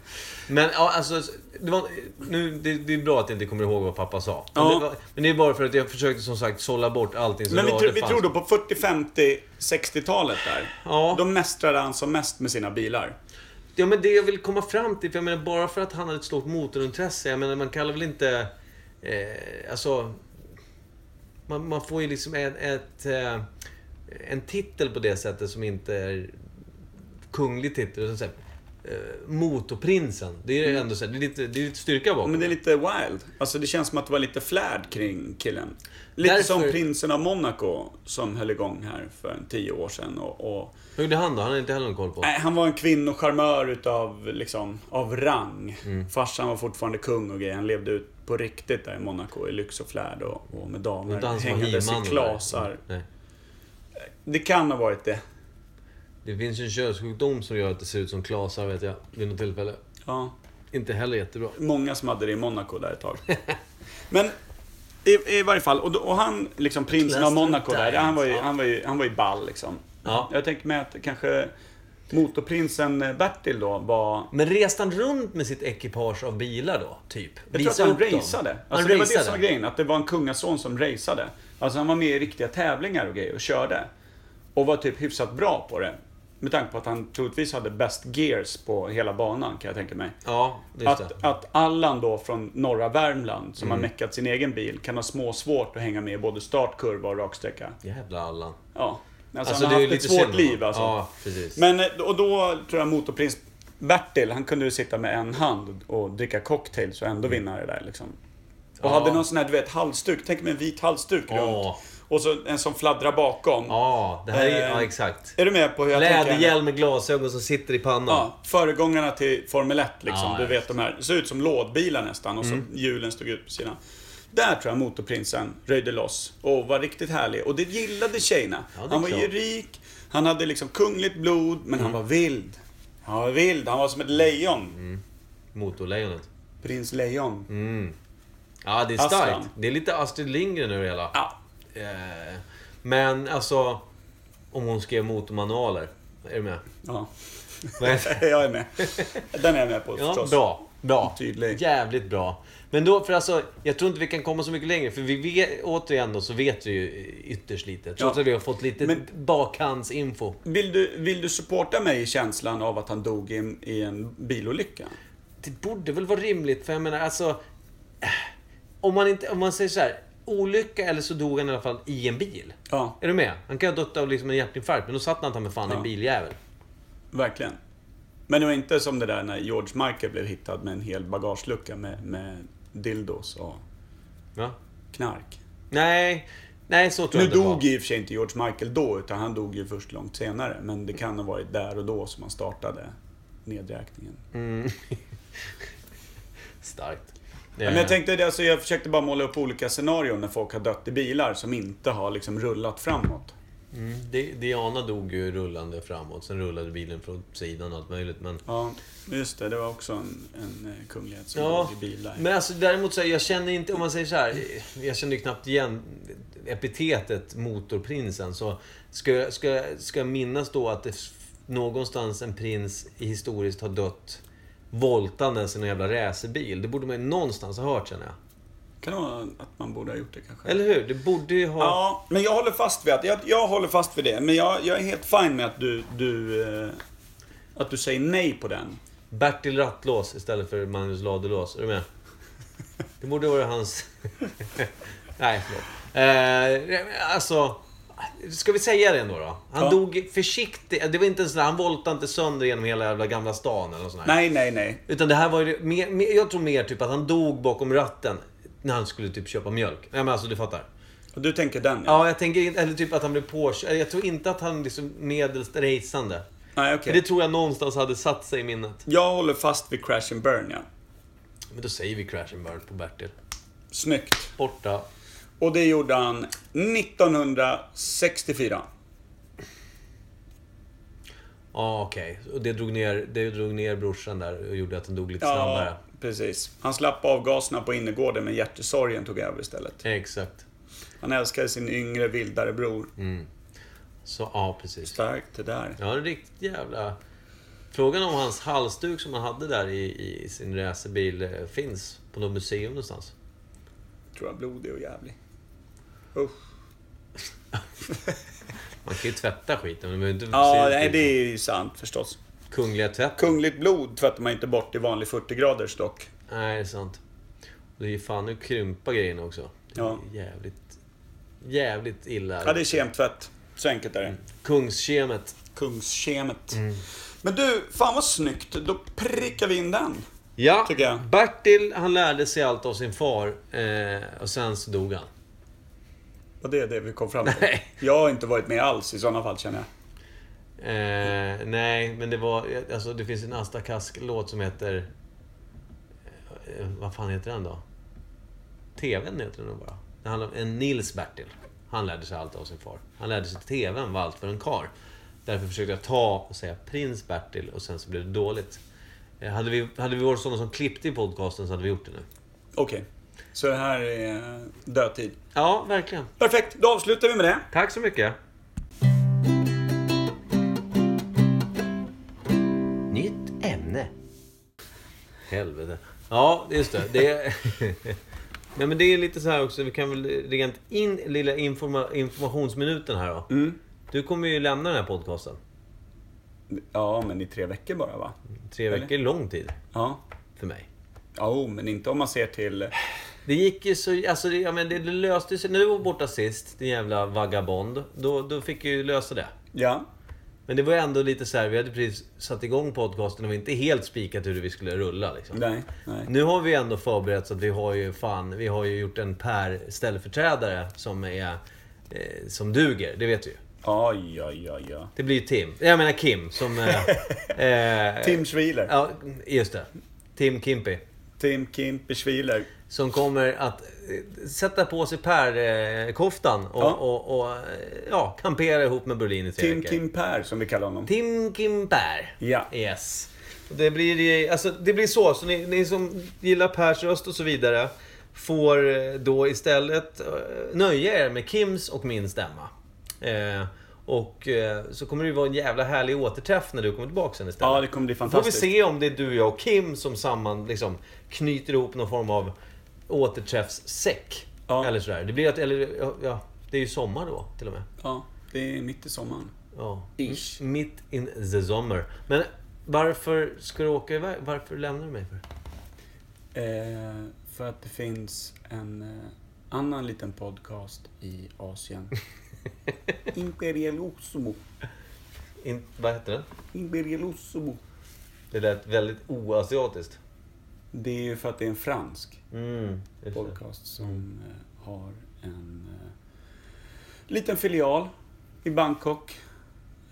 [SPEAKER 1] Men ja, alltså, det, var, nu, det, det är bra att jag inte kommer ihåg vad pappa sa. Men,
[SPEAKER 2] Ja.
[SPEAKER 1] det, var, men det är bara för att jag försökte som sagt sålla bort allting som
[SPEAKER 2] Men vi,
[SPEAKER 1] rörde
[SPEAKER 2] tror- vi
[SPEAKER 1] fanns.
[SPEAKER 2] tror då på 40, 50, 60-talet där.
[SPEAKER 1] Ja.
[SPEAKER 2] Då mästrade han som mest med sina bilar.
[SPEAKER 1] Ja men det jag vill komma fram till, för jag menar bara för att han hade ett stort motorintresse, jag menar man kallar väl inte... Eh, alltså... Man, man får ju liksom ett, ett, eh, en titel på det sättet som inte är kunglig titel. utan så här, eh, motorprinsen. Det är ändå så här, det är lite, det är lite styrka
[SPEAKER 2] Ja,
[SPEAKER 1] bakom.
[SPEAKER 2] Mm. Men det är lite wild. Alltså det känns som att det var lite flärd kring killen. Lite
[SPEAKER 1] Därför-
[SPEAKER 2] som prinsen av Monaco som höll igång här för en tio år sedan. Och, och...
[SPEAKER 1] Hur gjorde han då? Han har inte heller någon koll på.
[SPEAKER 2] Nej, han var en kvinnocharmör utav, liksom, av rang.
[SPEAKER 1] Mm.
[SPEAKER 2] Farsan var fortfarande kung och grejer. Han levde ut på riktigt där i Monaco i lyx och flärd och, och med
[SPEAKER 1] Det är inte
[SPEAKER 2] damer
[SPEAKER 1] han som var
[SPEAKER 2] hängandes
[SPEAKER 1] He-Man.
[SPEAKER 2] i klasar.
[SPEAKER 1] Nej.
[SPEAKER 2] Det kan ha varit det.
[SPEAKER 1] Det finns ju en könssjukdom som gör att det ser ut som klasar vet jag. Vid något tillfälle.
[SPEAKER 2] Ja.
[SPEAKER 1] Inte heller jättebra.
[SPEAKER 2] Många som hade det i Monaco där ett tag. Men i, i varje fall, och, då, och han, liksom prinsen av
[SPEAKER 1] Cluster
[SPEAKER 2] Monaco där,
[SPEAKER 1] Diamonds,
[SPEAKER 2] han var, ju,
[SPEAKER 1] ja.
[SPEAKER 2] han, var ju, han var ju ball liksom.
[SPEAKER 1] Ja.
[SPEAKER 2] Jag tänkte mig att kanske motorprinsen eh, Bertil då var...
[SPEAKER 1] Men reste han runt med sitt ekipage av bilar då? Typ?
[SPEAKER 2] Jag tror att han raceade.
[SPEAKER 1] Han
[SPEAKER 2] Alltså det var det
[SPEAKER 1] raceade.
[SPEAKER 2] som var grejen, att det var en kungason som raceade. Alltså han var med i riktiga tävlingar och grejer och körde. Och var typ hyfsat bra på det. Med tanke på att han troligtvis hade bäst gears på hela banan kan jag tänka mig.
[SPEAKER 1] Ja, just det. Mm.
[SPEAKER 2] Att, att Allan då från norra Värmland, som har meckat sin egen bil, kan ha små svårt att hänga med i både startkurva och raksträcka.
[SPEAKER 1] Jävla Allan.
[SPEAKER 2] Ja. Alltså,
[SPEAKER 1] Alltså,
[SPEAKER 2] han har
[SPEAKER 1] det är
[SPEAKER 2] haft ett
[SPEAKER 1] lite
[SPEAKER 2] svårt
[SPEAKER 1] synd om
[SPEAKER 2] liv
[SPEAKER 1] honom.
[SPEAKER 2] alltså.
[SPEAKER 1] Ja, precis.
[SPEAKER 2] Men, eh, och då tror jag motorprins Bertil, han kunde ju sitta med en hand och dricka cocktails och ändå vinna det där liksom. Och
[SPEAKER 1] Mm. Ja.
[SPEAKER 2] hade någon sån här, du vet, halsduk. Tänk med en vit halsduk runt.
[SPEAKER 1] Ja.
[SPEAKER 2] Och så en som fladdrar bakom.
[SPEAKER 1] Ja, det här är ju...
[SPEAKER 2] Eh,
[SPEAKER 1] Ja, exakt.
[SPEAKER 2] Är du med på hur jag tänker?
[SPEAKER 1] Läderhjälm med glasögon som sitter i pannan.
[SPEAKER 2] Ja, föregångarna till Formel 1 liksom.
[SPEAKER 1] Ja, Mm.
[SPEAKER 2] du
[SPEAKER 1] ja,
[SPEAKER 2] vet de här. Det såg ut som lådbilar nästan och så hjulen stod ut på sidan. Där tror jag motorprinsen röjde loss och var riktigt härlig. Och det gillade tjejerna.
[SPEAKER 1] Ja, det är
[SPEAKER 2] han var ju
[SPEAKER 1] klart. Mm.
[SPEAKER 2] rik, han hade liksom kungligt blod, men han var vild. Han var vild, han var som ett lejon.
[SPEAKER 1] Motorlejonet.
[SPEAKER 2] Prins Lejon.
[SPEAKER 1] Mm. Ja, det är
[SPEAKER 2] Aslan.
[SPEAKER 1] starkt. Det är lite Astrid Lindgren över det hela.
[SPEAKER 2] Ja.
[SPEAKER 1] Eh, Men alltså... Om hon skrev motormanualer. Är du med?
[SPEAKER 2] ja.
[SPEAKER 1] Vad heter det?
[SPEAKER 2] jag är med. Den är jag med på
[SPEAKER 1] Ja,
[SPEAKER 2] förstås.
[SPEAKER 1] bra. Bra.
[SPEAKER 2] Tydlig.
[SPEAKER 1] Jävligt bra. Men då, för alltså, jag tror inte vi kan komma så mycket längre. För vi vet, återigen då, så vet vi ju ytterst lite. Trots
[SPEAKER 2] Ja.
[SPEAKER 1] att vi har fått lite
[SPEAKER 2] Men-
[SPEAKER 1] bakhandsinfo.
[SPEAKER 2] Vill du, vill du supporta mig i känslan av att han dog i en, i en bilolycka?
[SPEAKER 1] Det borde väl vara rimligt, för jag menar alltså... eh, Om man, inte, om man säger så här, olycka eller så dog han i alla fall i en bil.
[SPEAKER 2] Ja,
[SPEAKER 1] Är du med? Han kan ha dött av liksom en hjärtinfarkt, men då satt han ta mig fan i
[SPEAKER 2] Ja.
[SPEAKER 1] en biljävel.
[SPEAKER 2] Verkligen. Men det var inte som det där när George Michael blev hittad med en hel bagagelucka med, med dildos och
[SPEAKER 1] Ja.
[SPEAKER 2] knark.
[SPEAKER 1] Nej, nej så tror
[SPEAKER 2] Nu
[SPEAKER 1] jag inte det
[SPEAKER 2] dog
[SPEAKER 1] var.
[SPEAKER 2] i och för sig inte George Michael då, utan han dog ju först långt senare. Men det kan ha varit där och då som han startade nedräkningen.
[SPEAKER 1] Starkt. Eh.
[SPEAKER 2] Men jag tänkte, det, alltså, jag försökte bara måla upp olika scenarion när folk har dött i bilar som inte har liksom rullat framåt.
[SPEAKER 1] Mm, Di- Diana dog ju rullande framåt, sen rullade bilen från sidan och allt möjligt. Men,
[SPEAKER 2] Ja, just det. Det var också en, en eh, kunglighet som
[SPEAKER 1] ja,
[SPEAKER 2] dog i bilar.
[SPEAKER 1] men alltså, däremot så här, jag känner inte, om man säger så här, jag känner ju knappt igen epitetet motorprinsen. Så ska, jag- ska, jag- ska jag minnas då att det f- någonstans en prins i historiskt har dött voltandes i någon jävla racerbil. Det borde man ju någonstans ha hört känner jag.
[SPEAKER 2] Kan det vara att man borde ha gjort det kanske?
[SPEAKER 1] Eller hur? Det borde ju ha...
[SPEAKER 2] Ja, men jag håller fast vid att, jag, jag håller fast vid det. Men jag, jag är helt fin med att du, du, eh, att du säger nej på den.
[SPEAKER 1] Bertil Rattlås istället för Magnus Ladulås. Är du med? Det borde vara hans... Nej, förlåt. Eh, alltså... Ska vi säga det ändå då? Han
[SPEAKER 2] Ja.
[SPEAKER 1] dog försiktigt. Det var inte en sån där, han voltade inte sönder genom hela jävla gamla stan eller nåt sånt där.
[SPEAKER 2] Nej, nej, nej.
[SPEAKER 1] Utan det här var ju mer, mer, jag tror mer typ att han dog bakom ratten när han skulle typ köpa mjölk. Ja men alltså du fattar.
[SPEAKER 2] Och du tänker den ja.
[SPEAKER 1] Ja, jag tänker inte- eller typ att han blev påkörd. Jag tror inte att han liksom medelst racande.
[SPEAKER 2] Nej, okej.
[SPEAKER 1] Det tror jag någonstans hade satt sig i minnet.
[SPEAKER 2] Jag håller fast vid crash and burn, ja.
[SPEAKER 1] Men då säger vi crash and burn på Bertil.
[SPEAKER 2] Snyggt.
[SPEAKER 1] Borta.
[SPEAKER 2] Och det gjorde han 1964.
[SPEAKER 1] Ja, okej. Och det drog, ner, det drog ner brorsan där och gjorde att den dog lite
[SPEAKER 2] Ja,
[SPEAKER 1] snabbare.
[SPEAKER 2] precis. Han slapp avgaserna på innergården, men hjärtesorgen tog över istället.
[SPEAKER 1] Exakt.
[SPEAKER 2] Han älskade sin yngre, vildare bror.
[SPEAKER 1] Så, ja, precis.
[SPEAKER 2] Starkt det där.
[SPEAKER 1] Ja, en riktigt jävla... Frågan om hans halsduk som han hade där i, i sin racerbil eh, finns på något museum någonstans.
[SPEAKER 2] Tror jag blodig och jävlig. Usch.
[SPEAKER 1] Man kan ju tvätta skiten, men man behöver inte
[SPEAKER 2] Ja,
[SPEAKER 1] se- typ
[SPEAKER 2] nej, det är ju sant förstås.
[SPEAKER 1] Kungliga tvätt.
[SPEAKER 2] Kungligt blod tvättar man inte bort i vanlig 40-graders dock.
[SPEAKER 1] Nej, det är sant. Och det är ju fan, nu krympa grejerna också. Det är
[SPEAKER 2] Ja.
[SPEAKER 1] jävligt... Jävligt illa.
[SPEAKER 2] Mm. Ja, det är kemtvätt. Så enkelt är det.
[SPEAKER 1] Kungskemet.
[SPEAKER 2] Mm. Kungskemet. Men du, fan vad snyggt. Då prickar vi in den.
[SPEAKER 1] Ja,
[SPEAKER 2] Tycker jag.
[SPEAKER 1] Bertil han lärde sig allt av sin far eh, och sen så dog han.
[SPEAKER 2] Och det är det vi kom fram till.
[SPEAKER 1] Nej.
[SPEAKER 2] Jag har inte varit med alls i sådana fall känner jag.
[SPEAKER 1] Eh, nej, men det var... Alltså, det finns en Asta Kask-låt som heter... Eh, vad fan heter den då? TVn heter den nog bara. Det handlar om en Nils Bertil. Han lärde sig allt av sin far. Han lärde sig att TVn var allt för en kar. Därför försökte jag ta och säga prins Bertil och sen så blev det dåligt. Eh, hade, vi, hade vi varit sådana som klippte i podcasten så hade vi gjort det nu.
[SPEAKER 2] Okej. Så det här är dödtid.
[SPEAKER 1] Ja, verkligen.
[SPEAKER 2] Perfekt, då avslutar vi med det.
[SPEAKER 1] Tack så mycket.
[SPEAKER 4] nytt ämne.
[SPEAKER 1] Helvete. Ja, just det. det är... Nej, men det är lite så här också. Vi kan väl rent in lilla informa- informationsminuten här då.
[SPEAKER 4] Mm.
[SPEAKER 1] Du kommer ju lämna den här podcasten.
[SPEAKER 2] Ja, men i tre veckor bara va?
[SPEAKER 1] Tre
[SPEAKER 2] Eller?
[SPEAKER 1] veckor är lång tid
[SPEAKER 2] Ja.
[SPEAKER 1] för mig.
[SPEAKER 2] Ja, oh, men inte om man ser till...
[SPEAKER 1] Det gick ju så... Alltså, det, ja, men det, det löste sig. När du var borta sist, din jävla vagabond, då, då fick jag ju lösa det.
[SPEAKER 2] Ja.
[SPEAKER 1] Men det var ändå lite så här, vi hade precis satt igång podcasten och vi inte helt spikat hur vi skulle rulla. Liksom.
[SPEAKER 2] Nej, nej.
[SPEAKER 1] Nu har vi ändå förberett så att vi har ju fan, vi har ju gjort en Per ställföreträdare som är... Eh, som duger, det vet du ju.
[SPEAKER 2] Oj, oj, oj, oj.
[SPEAKER 1] Det blir ju Tim. Jag menar Kim som... Eh, eh,
[SPEAKER 2] Tim Schwiler.
[SPEAKER 1] Ja, just det. Tim Kimpy.
[SPEAKER 2] Tim Kimper Schwiler.
[SPEAKER 1] Som kommer att eh, sätta på sig Per-koftan och,
[SPEAKER 2] Ja.
[SPEAKER 1] och, och eh, ja, kampera ihop med Berlin i tre
[SPEAKER 2] Tim
[SPEAKER 1] veckor.
[SPEAKER 2] Kim Per som vi kallar honom.
[SPEAKER 1] Tim Kim Per.
[SPEAKER 2] Ja.
[SPEAKER 1] Yes. Det blir, ju- alltså, det blir så. Så ni, ni som gillar Pers röst och så vidare får eh, då istället eh, nöja er med Kims och min stämma. Eh, och eh, så kommer det ju vara en jävla härlig återträff när du kommer tillbaka sen istället.
[SPEAKER 2] Ja, det kommer bli
[SPEAKER 1] Då får vi
[SPEAKER 2] fantastiskt.
[SPEAKER 1] se om det är du, jag och Kim som samman liksom, knyter ihop någon form av återträffssäck.
[SPEAKER 2] Ja.
[SPEAKER 1] Eller sådär. Det blir att, eller, ja, ja, det är ju sommar då till och med.
[SPEAKER 2] Ja, det är mitt i sommaren.
[SPEAKER 1] Ja.
[SPEAKER 2] Ish.
[SPEAKER 1] M- Mitt in the summer. Men varför ska du åka iväg? Varför lämnar du mig för?
[SPEAKER 2] Eh, för att det finns en eh, annan liten podcast i Asien. Imperialosumo.
[SPEAKER 1] In, vad heter den?
[SPEAKER 2] Imperialosumo.
[SPEAKER 1] Det lät väldigt oasiatiskt.
[SPEAKER 2] Det är ju för att det är en fransk
[SPEAKER 1] Mm. just det.
[SPEAKER 2] podcast som eh, har en eh, liten filial i Bangkok.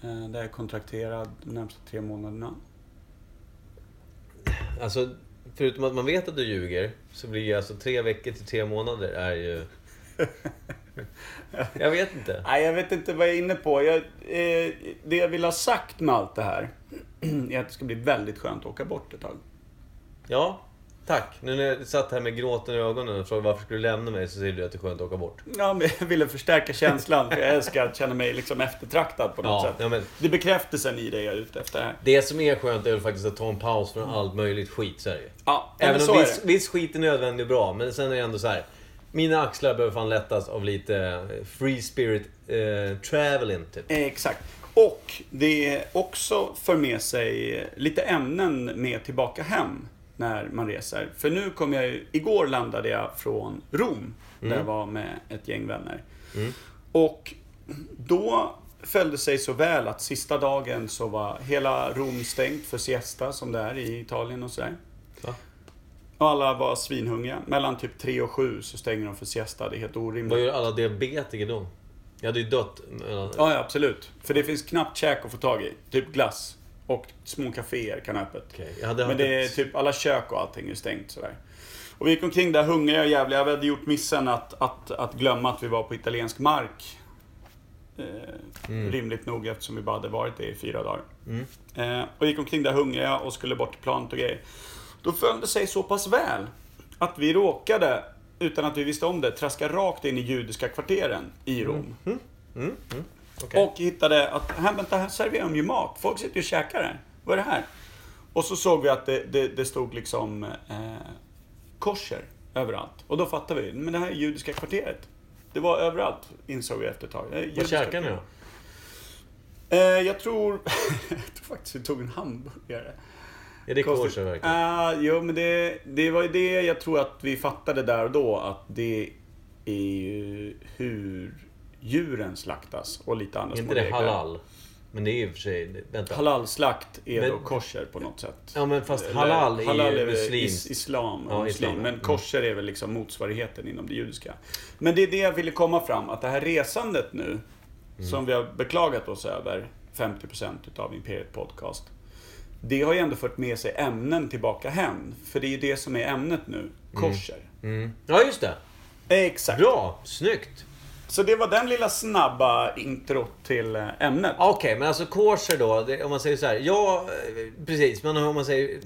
[SPEAKER 2] Eh, där jag är kontrakterad de närmsta tre månaderna.
[SPEAKER 1] Alltså, förutom att man vet att du ljuger, så blir ju alltså tre veckor till tre månader är ju... Jag vet inte.
[SPEAKER 2] Nej, jag vet inte vad jag är inne på. Jag, eh, det jag vill ha sagt med allt det här är att det ska bli väldigt skönt att åka bort ett tag.
[SPEAKER 1] Ja, tack. Nu när jag satt här med gråten i ögonen och frågade varför skulle du lämna mig så säger du att det är skönt att åka bort.
[SPEAKER 2] Ja, men jag ville förstärka känslan, för jag älskar att känna mig liksom eftertraktad på något
[SPEAKER 1] Ja,
[SPEAKER 2] sätt.
[SPEAKER 1] ja, men
[SPEAKER 2] Det är bekräftelsen i det jag är ute efter här.
[SPEAKER 1] det som är skönt är väl faktiskt att ta en paus från allt möjligt skit, så är det ju.
[SPEAKER 2] Ja, men
[SPEAKER 1] Även
[SPEAKER 2] så
[SPEAKER 1] om
[SPEAKER 2] är
[SPEAKER 1] viss,
[SPEAKER 2] det.
[SPEAKER 1] viss skit är nödvändig och bra, men sen är det ändå så här. Mina axlar behöver fan lättas av lite eh, free spirit eh, traveling, typ.
[SPEAKER 2] Eh, Exakt. Och det också för med sig lite ämnen med tillbaka hem när man reser. För nu kom jag ju, igår landade jag från Rom där jag var med ett gäng vänner. Och då föll det sig så väl att sista dagen så var hela Rom stängt för siesta som det är i Italien och sådär.
[SPEAKER 1] Va?
[SPEAKER 2] Och alla var svinhungriga. Mellan typ 3 och 7 så stänger de för siesta. Det är helt orimligt.
[SPEAKER 1] Vad gör alla diabetiker då? Jag hade ju dött. mellan-
[SPEAKER 2] Ja, ja, absolut. För det finns knappt käk att få tag i. Typ glass. Och små kaféer kan ha öppet.
[SPEAKER 1] Okej, jag hade
[SPEAKER 2] Men
[SPEAKER 1] haft
[SPEAKER 2] det är
[SPEAKER 1] ett-
[SPEAKER 2] typ alla kök och allting är stängt sådär. Och vi gick omkring där hungriga och jävliga. Vi hade gjort missen att, att, att glömma att vi var på italiensk mark. Eh, Rimligt nog eftersom vi bara hade varit det i fyra dagar. Eh, och gick omkring där hungriga och skulle bort till planet och grejer. Då föll det sig så pass väl att vi råkade, utan att vi visste om det, traska rakt in i judiska kvarteren
[SPEAKER 1] Mm.
[SPEAKER 2] i Rom.
[SPEAKER 1] Okej.
[SPEAKER 2] Och hittade att, här, vänta, här serverar de ju mat. Folk sitter ju och käkar här. Vad är det här? Och så såg vi att det, det, det stod liksom eh, korser överallt. Och då fattade vi, men det här är judiska kvarteret. Det var överallt, insåg vi efter ett tag. Det är
[SPEAKER 1] Vad
[SPEAKER 2] judiska
[SPEAKER 1] käkar ni då?
[SPEAKER 2] Eh, jag tror... jag tror faktiskt vi tog en hamburgare.
[SPEAKER 1] Är det
[SPEAKER 2] Konstigt.
[SPEAKER 1] kosher verkligen?
[SPEAKER 2] Ah, jo, men det, det var ju det jag tror att vi fattade där och då. Att det är ju hur djuren slaktas och lite andra
[SPEAKER 1] Är
[SPEAKER 2] små
[SPEAKER 1] inte det
[SPEAKER 2] regler.
[SPEAKER 1] halal? Men det är ju i och för sig... det- Vänta.
[SPEAKER 2] Halalslakt är
[SPEAKER 1] Men-
[SPEAKER 2] då kosher på något sätt.
[SPEAKER 1] Ja, men fast
[SPEAKER 2] Eller-
[SPEAKER 1] halal är ju
[SPEAKER 2] väl
[SPEAKER 1] muslimskt.
[SPEAKER 2] is- Islam,
[SPEAKER 1] Ja,
[SPEAKER 2] ja, muslim.
[SPEAKER 1] islam. Mm.
[SPEAKER 2] Men kosher är väl liksom motsvarigheten inom det judiska. Men det är det jag ville komma fram, att det här resandet
[SPEAKER 1] Mm.
[SPEAKER 2] nu, som vi har beklagat oss över, 50% utav Imperiet Podcast. Det har ju ändå fört med sig ämnen tillbaka hem. För det är ju det som är ämnet nu, kosher.
[SPEAKER 1] Mm. Ja, just det.
[SPEAKER 2] Exakt.
[SPEAKER 1] Bra! Snyggt!
[SPEAKER 2] Så det var den lilla snabba introt till eh, ämnet.
[SPEAKER 1] Okej, men alltså kosher då. Det, om man säger så här. Ja, eh, precis. Men om man säger...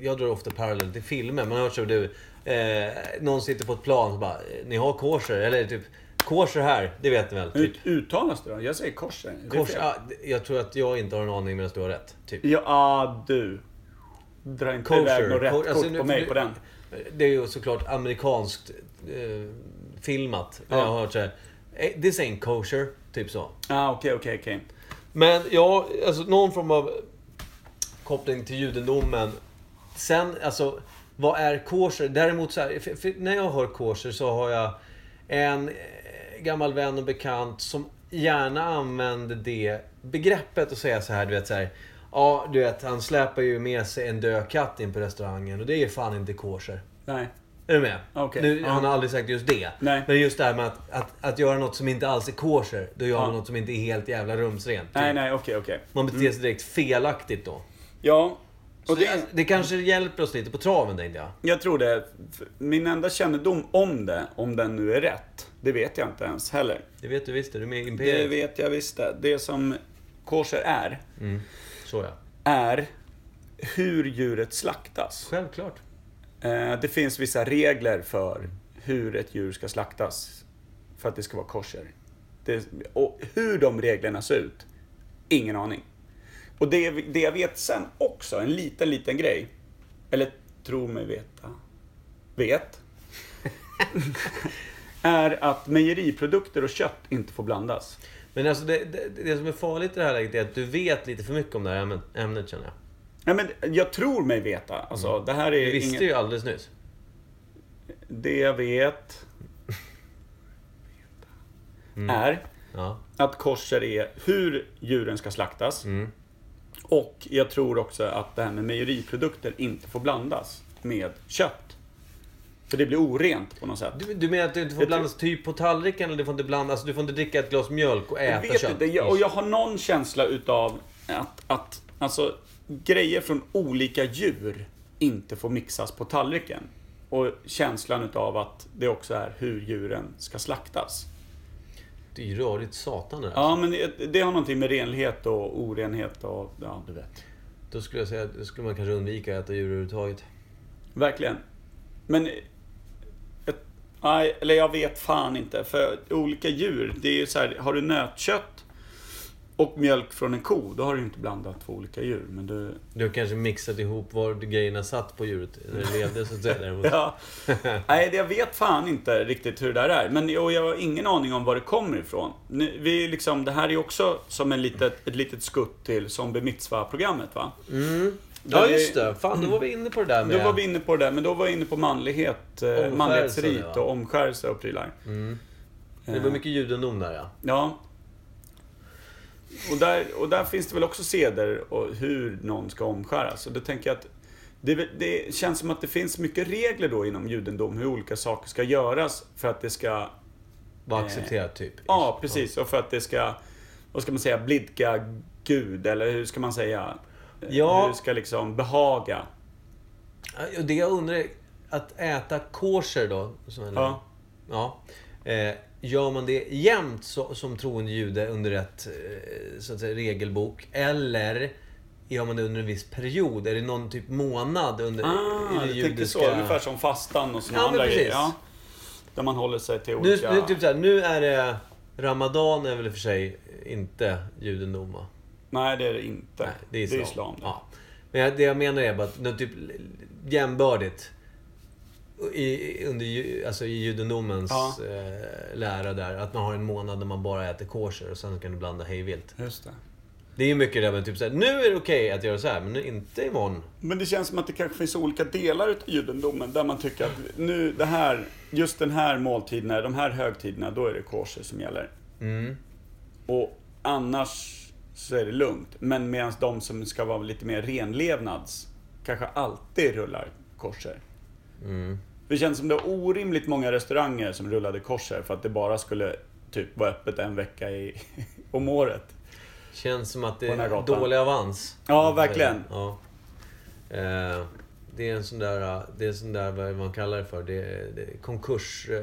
[SPEAKER 1] Jag drar ofta parallell till filmer. Man har hört så du. Eh, någon sitter på ett plan och bara, eh, ni har kosher. Eller typ, kosher här. Det vet ni väl? Typ.
[SPEAKER 2] Hur uttalas det då? Jag säger kosher. Är det
[SPEAKER 1] Kosher.
[SPEAKER 2] fel?
[SPEAKER 1] Ja, jag tror att jag inte har en aning medan du har rätt. Typ.
[SPEAKER 2] Ja, du. Dra inte iväg något rätt
[SPEAKER 1] Ko-
[SPEAKER 2] kort
[SPEAKER 1] alltså, nu-
[SPEAKER 2] på mig på den.
[SPEAKER 1] Det är ju såklart amerikanskt eh, filmat.
[SPEAKER 2] Ja.
[SPEAKER 1] Jag har hört såhär, "Eh, this ain't kosher. Typ så.
[SPEAKER 2] Ah, okej, okej, okej.
[SPEAKER 1] Men ja, alltså någon form av koppling till judendomen. Sen, alltså, vad är kosher? Däremot så här, för, för när jag hör kosher så har jag en eh, gammal vän och bekant som gärna använder det begreppet och säger så här, du vet så här. Ja, du vet, han släpar ju med sig en död katt in på restaurangen och det är fan inte kosher.
[SPEAKER 2] Nej.
[SPEAKER 1] Är du med?
[SPEAKER 2] Okej,
[SPEAKER 1] Nu,
[SPEAKER 2] ja.
[SPEAKER 1] Han har aldrig sagt just det.
[SPEAKER 2] Nej.
[SPEAKER 1] Men just det här med att, att, att göra något som inte alls är kosher, då gör
[SPEAKER 2] Ja.
[SPEAKER 1] man något som inte är helt jävla rumsrent. typ.
[SPEAKER 2] Nej, nej, okej, okej.
[SPEAKER 1] Man beter sig direkt felaktigt då.
[SPEAKER 2] Ja.
[SPEAKER 1] Så
[SPEAKER 2] Och
[SPEAKER 1] det,
[SPEAKER 2] Mm. det,
[SPEAKER 1] det kanske hjälper oss lite på traven tänkte jag.
[SPEAKER 2] jag tror det. Min enda kännedom om det, om den nu är rätt, det vet jag inte ens heller.
[SPEAKER 1] Det vet du visst, är du med i
[SPEAKER 2] Det
[SPEAKER 1] Imperiet?
[SPEAKER 2] vet Mm. jag visst det. Det som kosher är,
[SPEAKER 1] Så ja.
[SPEAKER 2] är hur djuret slaktas.
[SPEAKER 1] Självklart.
[SPEAKER 2] Eh, Det finns vissa regler för hur ett djur ska slaktas för att det ska vara kosher. Det, och hur de reglerna ser ut, ingen aning. Och det, det jag vet sen också, en liten, liten grej, eller tror mig veta, vet, är att mejeriprodukter och kött inte får blandas.
[SPEAKER 1] Men alltså det, det, det som är farligt i det här läget är att du vet lite för mycket om det här ämnet, ämnet känner jag.
[SPEAKER 2] Nej, men jag tror mig veta. Alltså, det här
[SPEAKER 1] Mm. Du
[SPEAKER 2] är
[SPEAKER 1] visste
[SPEAKER 2] inget-
[SPEAKER 1] ju alldeles nyss.
[SPEAKER 2] Det jag vet
[SPEAKER 1] Mm.
[SPEAKER 2] är
[SPEAKER 1] Ja.
[SPEAKER 2] att kosher är hur djuren ska slaktas. Och jag tror också att det här med mejeriprodukter inte får blandas med kött. För det blir orent på något sätt.
[SPEAKER 1] Du, du menar att du inte får
[SPEAKER 2] Jag
[SPEAKER 1] blandas typ på tallriken eller du får inte blandas, alltså, du får inte dricka ett glas mjölk och
[SPEAKER 2] Jag
[SPEAKER 1] äta
[SPEAKER 2] vet
[SPEAKER 1] kött?
[SPEAKER 2] inte, jag, och jag har någon känsla utav att, att alltså, grejer från olika djur inte får mixas på tallriken. Och känslan utav att det också är hur djuren ska slaktas.
[SPEAKER 1] Det är ju rörigt satan det där.
[SPEAKER 2] Ja, men det, det har någonting med renlighet och orenhet och... Ja, du vet.
[SPEAKER 1] Då skulle jag säga att då skulle man kanske undvika att äta djur överhuvudtaget.
[SPEAKER 2] Verkligen. Men... Ett, nej, eller jag vet fan inte. För olika djur, det är ju så här, har du nötkött och mjölk från en ko, då har du ju inte blandat två olika djur. Men du...
[SPEAKER 1] Du har kanske mixat ihop var grejerna satt på djuret när det levde så att säga. däremot.
[SPEAKER 2] Ja. Nej, det- jag vet fan inte riktigt hur det där är. Men och jag har ingen aning om var det kommer ifrån. Nu, vi är liksom, det här är också som en litet, ett litet skutt till Zombie Mitzva-programmet va?
[SPEAKER 1] Mm. Ja just det, fan då var vi inne på det där med...
[SPEAKER 2] Då var vi inne på det där, men då var vi inne på manlighet, eh,
[SPEAKER 1] Omskärelse,
[SPEAKER 2] manlighetsrit
[SPEAKER 1] ja. Mm.
[SPEAKER 2] och omskärelse och prylar. Eh.
[SPEAKER 1] Det var mycket judendom där ja.
[SPEAKER 2] Ja. Och där, och där finns det väl också seder och hur någon ska omskäras. Och då tänker jag att det, är väl- det känns som att det finns mycket regler då inom judendom hur olika saker ska göras för att det ska...
[SPEAKER 1] Var accepterat typ.
[SPEAKER 2] Eh, Ja, precis. Och för att det ska, vad ska man säga, blidka Gud. Eller hur ska man säga?
[SPEAKER 1] Ja.
[SPEAKER 2] Hur det ska liksom behaga.
[SPEAKER 1] Ja, och Det jag undrar, är, att äta kosher då, som en,
[SPEAKER 2] Ja.
[SPEAKER 1] ja eh, gör man det jämt så, som troende jude under ett eh, så att säga, regelbok? Eller gör man det under en viss period? Är det någon typ månad under
[SPEAKER 2] Ah,
[SPEAKER 1] i
[SPEAKER 2] du tänker så. Ungefär som fastan och såna
[SPEAKER 1] Ja, men
[SPEAKER 2] andra
[SPEAKER 1] precis.
[SPEAKER 2] grejer. Ja, där man håller sig till
[SPEAKER 1] Nu,
[SPEAKER 2] olika...
[SPEAKER 1] nu, typ så här, nu är det... Ramadan är väl i och för sig inte judendom va?
[SPEAKER 2] Nej, det är det inte.
[SPEAKER 1] Nej, det är islam.
[SPEAKER 2] det.
[SPEAKER 1] ja. Men jag, det jag menar är bara att det är typ jämbördigt. I, under, ju- alltså I judendomens
[SPEAKER 2] Ja.
[SPEAKER 1] eh, lära där. Att man har en månad där man bara äter kosher och sen kan du blanda hejvilt.
[SPEAKER 2] Just det.
[SPEAKER 1] Det är ju mycket det där med typ såhär, nu är det okej att göra så här, men inte imorgon.
[SPEAKER 2] Men det känns som att det kanske finns olika delar utav judendomen där man tycker att nu, det här, just den här måltiderna, de här högtiderna, då är det kosher som gäller. Och annars så är det lugnt. Men medan de som ska vara lite mer renlevnads kanske alltid rullar korser. Det känns som det var orimligt många restauranger som rullade korser för att det bara skulle typ vara öppet en vecka i, om året.
[SPEAKER 1] Känns som att det
[SPEAKER 2] På den här
[SPEAKER 1] är
[SPEAKER 2] gatan.
[SPEAKER 1] dålig avans.
[SPEAKER 2] Ja, verkligen.
[SPEAKER 1] Ja. Eh, Det är en sån där, eh, det är en sån där vad man kallar det för, det är, det är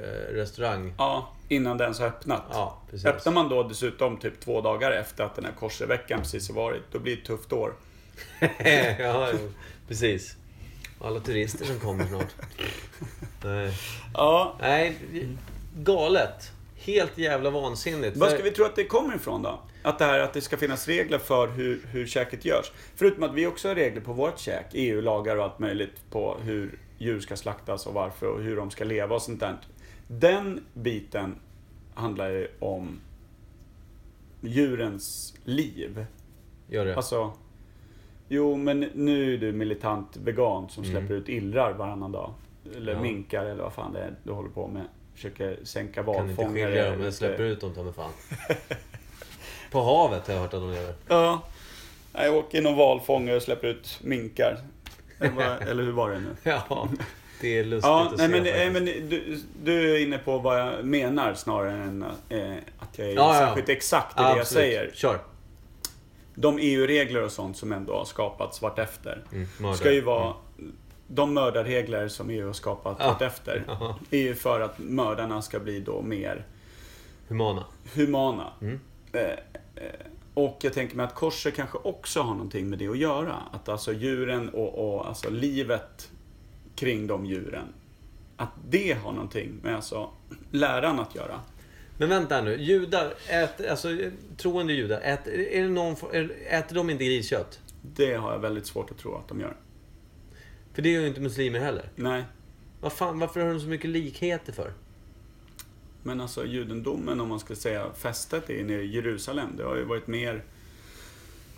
[SPEAKER 1] konkursrestaurang.
[SPEAKER 2] Ja, innan den har öppnat.
[SPEAKER 1] Ja, precis.
[SPEAKER 2] Öppnar man då dessutom typ två dagar efter att den här korserveckan precis har varit, då blir det ett tufft år.
[SPEAKER 1] ja, jo, precis. Och Alla turister som kommer snart. Nej,
[SPEAKER 2] Ja,
[SPEAKER 1] Nej galet. Helt jävla vansinnigt.
[SPEAKER 2] Vad ska vi tro att det kommer ifrån då? Att det här att det ska finnas regler för hur, hur käket görs. Förutom att vi också har regler på vårt käk, EU-lagar och allt möjligt på hur djur ska slaktas och varför och hur de ska leva och sånt där. Den biten handlar ju om djurens liv.
[SPEAKER 1] Gör det.
[SPEAKER 2] Alltså, jo men nu är du militant vegan som släpper ut illrar varannan dag. Eller
[SPEAKER 1] Mm. Ja.
[SPEAKER 2] minkar eller vad fan det är du håller på med. Försöker sänka
[SPEAKER 1] kan inte
[SPEAKER 2] valfångare. Typ.
[SPEAKER 1] skilja dem, men släpper ut dem ta mig fan. På havet har jag hört att de lever.
[SPEAKER 2] Ja. Nej, Jag åker in och valfångar och släpper ut minkar. Eller vad- Eller hur var det nu?
[SPEAKER 1] Ja, det är lustigt
[SPEAKER 2] Ja,
[SPEAKER 1] att
[SPEAKER 2] nej
[SPEAKER 1] se
[SPEAKER 2] men, nej,
[SPEAKER 1] faktiskt.
[SPEAKER 2] men du, du är inne på vad jag menar snarare än eh, att jag är
[SPEAKER 1] Ja, ja, ja.
[SPEAKER 2] särskilt exakt i det jag
[SPEAKER 1] Absolut.
[SPEAKER 2] säger.
[SPEAKER 1] Kör.
[SPEAKER 2] De EU-regler och sånt som ändå har skapats vartefter.
[SPEAKER 1] Mm, mördare. Mm.
[SPEAKER 2] Ska ju vara de mördarregler som EU har skapat
[SPEAKER 1] Ja.
[SPEAKER 2] vartefter.
[SPEAKER 1] Ja.
[SPEAKER 2] Är ju för att mördarna ska bli då mer
[SPEAKER 1] Humana.
[SPEAKER 2] humana.
[SPEAKER 1] Mm.
[SPEAKER 2] Eh, eh, och jag tänker mig att korset kanske också har någonting med det att göra. Att alltså djuren och, och alltså livet kring de djuren. Att det har någonting med alltså läran att göra.
[SPEAKER 1] Men vänta nu. Judar, äter, alltså troende judar, äter, är det någon, for- är- äter de inte griskött?
[SPEAKER 2] Det har jag väldigt svårt att tro att de gör.
[SPEAKER 1] För det är ju inte muslimer heller.
[SPEAKER 2] Nej,
[SPEAKER 1] Vad fan, varför har de så mycket likheter för?
[SPEAKER 2] men alltså judendomen om man ska säga fästet i nere i Jerusalem. Det har ju varit mer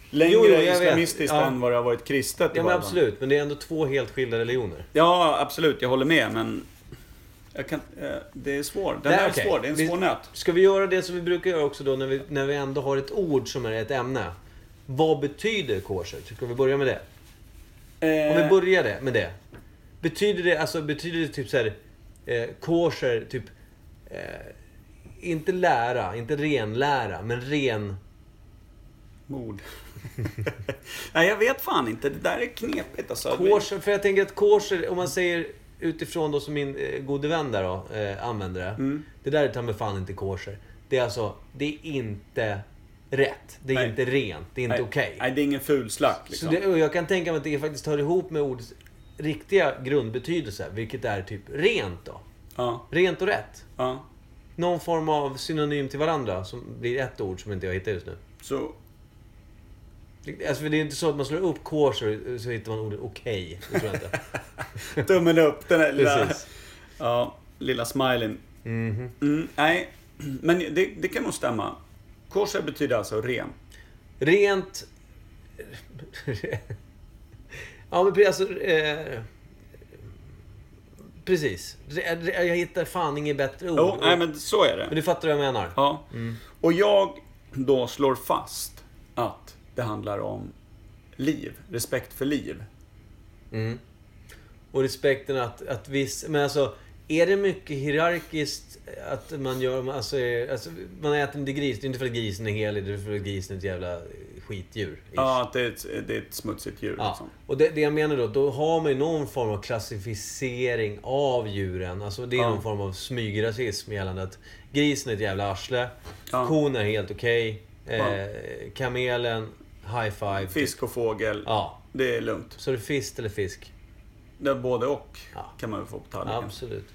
[SPEAKER 2] längre
[SPEAKER 1] Jo, jo, jag vet.
[SPEAKER 2] islamistiskt
[SPEAKER 1] Ja.
[SPEAKER 2] än vad det har varit kristet. i
[SPEAKER 1] Ja men
[SPEAKER 2] varje fall.
[SPEAKER 1] absolut, men det är ändå två helt skilda religioner.
[SPEAKER 2] Ja, absolut. Jag håller med, men... Jag kan, eh, det är svårt. Den
[SPEAKER 1] Nej,
[SPEAKER 2] där är
[SPEAKER 1] okej.
[SPEAKER 2] svår. Det är en
[SPEAKER 1] Vi-
[SPEAKER 2] svår nöt.
[SPEAKER 1] Ska vi göra det som vi brukar göra också då när vi, när vi ändå har ett ord som är ett ämne? Vad betyder kosher? Ska vi börja med det? Om vi
[SPEAKER 2] Eh,
[SPEAKER 1] börjar det, med det. Betyder det, alltså, betyder det typ så här, eh, kosher, typ... Eh, inte lära, inte renlära, men ren...
[SPEAKER 2] Mord. Nej, jag vet fan inte. Det där är knepigt alltså.
[SPEAKER 1] Kosher, för jag tänker att kosher, om man säger utifrån då som min eh, gode vän där då, eh, använder det.
[SPEAKER 2] Mm.
[SPEAKER 1] Det där är ta mig fan inte kosher. Det är alltså, det är inte rätt. Det är
[SPEAKER 2] Nej.
[SPEAKER 1] inte rent. Det är inte
[SPEAKER 2] Nej,
[SPEAKER 1] okej.
[SPEAKER 2] Nej, det är ingen ful slakt
[SPEAKER 1] Så
[SPEAKER 2] liksom.
[SPEAKER 1] det, och jag kan tänka mig att det faktiskt hör ihop med ordets riktiga grundbetydelse, vilket är typ rent då.
[SPEAKER 2] Ja,
[SPEAKER 1] Rent och rätt.
[SPEAKER 2] ja.
[SPEAKER 1] Någon form av synonym till varandra som blir ett ord som inte jag hittar just nu.
[SPEAKER 2] Så...
[SPEAKER 1] Alltså för det är inte så att man slår upp kosher så hittar man ordet okej. Det tror jag inte.
[SPEAKER 2] Tummen upp, den där lilla...
[SPEAKER 1] Precis.
[SPEAKER 2] Ja, lilla smileyn.
[SPEAKER 1] Mhm.
[SPEAKER 2] Mm, nej, men det, det kan nog stämma. Kosher betyder alltså
[SPEAKER 1] Oh,
[SPEAKER 2] ren.
[SPEAKER 1] Rent... ja men pre- alltså... Eh... Precis. Re- re- Jag hittar fan inget bättre ord.
[SPEAKER 2] Jo, nej men så är det.
[SPEAKER 1] oh. Men Mm. du fattar vad jag menar?
[SPEAKER 2] Ja. Och jag då slår fast att det handlar om liv, respekt för liv.
[SPEAKER 1] Och respekten att, att viss... Men alltså, är det mycket hierarkiskt att man gör... Alltså, är- alltså, man äter inte gris. Det är inte för att grisen är helig. Det är för att grisen är ett jävla skitdjur. ish.
[SPEAKER 2] Ja, att det är ett, det är ett smutsigt djur.
[SPEAKER 1] Ja.
[SPEAKER 2] Liksom.
[SPEAKER 1] Och det, det jag menar då, då har man ju någon form av klassificering av djuren. Alltså det är
[SPEAKER 2] Ja.
[SPEAKER 1] någon form av smygrasism gällande att grisen är ett jävla arsle.
[SPEAKER 2] Ja.
[SPEAKER 1] Kon är helt okej.
[SPEAKER 2] Ja.
[SPEAKER 1] Eh, kamelen, high five.
[SPEAKER 2] Fisk och fågel,
[SPEAKER 1] Ja.
[SPEAKER 2] det är lugnt.
[SPEAKER 1] Så är det fisk eller fisk?
[SPEAKER 2] Det är både och
[SPEAKER 1] Ja.
[SPEAKER 2] kan man ju få på tallriken.
[SPEAKER 1] Absolut.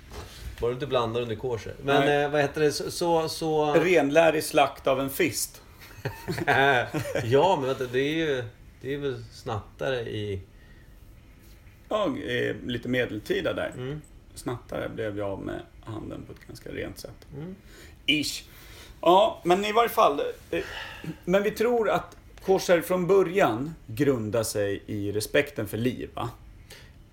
[SPEAKER 1] Bara du inte blandar under korset. Men
[SPEAKER 2] Nej.
[SPEAKER 1] eh, vad heter det? Så... så, så...
[SPEAKER 2] Renlärig slakt av en fist.
[SPEAKER 1] ja, men vänta. Det är ju... Det är väl snattare i...
[SPEAKER 2] Jag är lite medeltida där.
[SPEAKER 1] Mm.
[SPEAKER 2] Snattare blev jag av med handen på ett ganska rent sätt.
[SPEAKER 1] Mm.
[SPEAKER 2] Ish. Ja, men i varje fall. eh, Men vi tror att korser från början grundar sig i respekten för liv, va?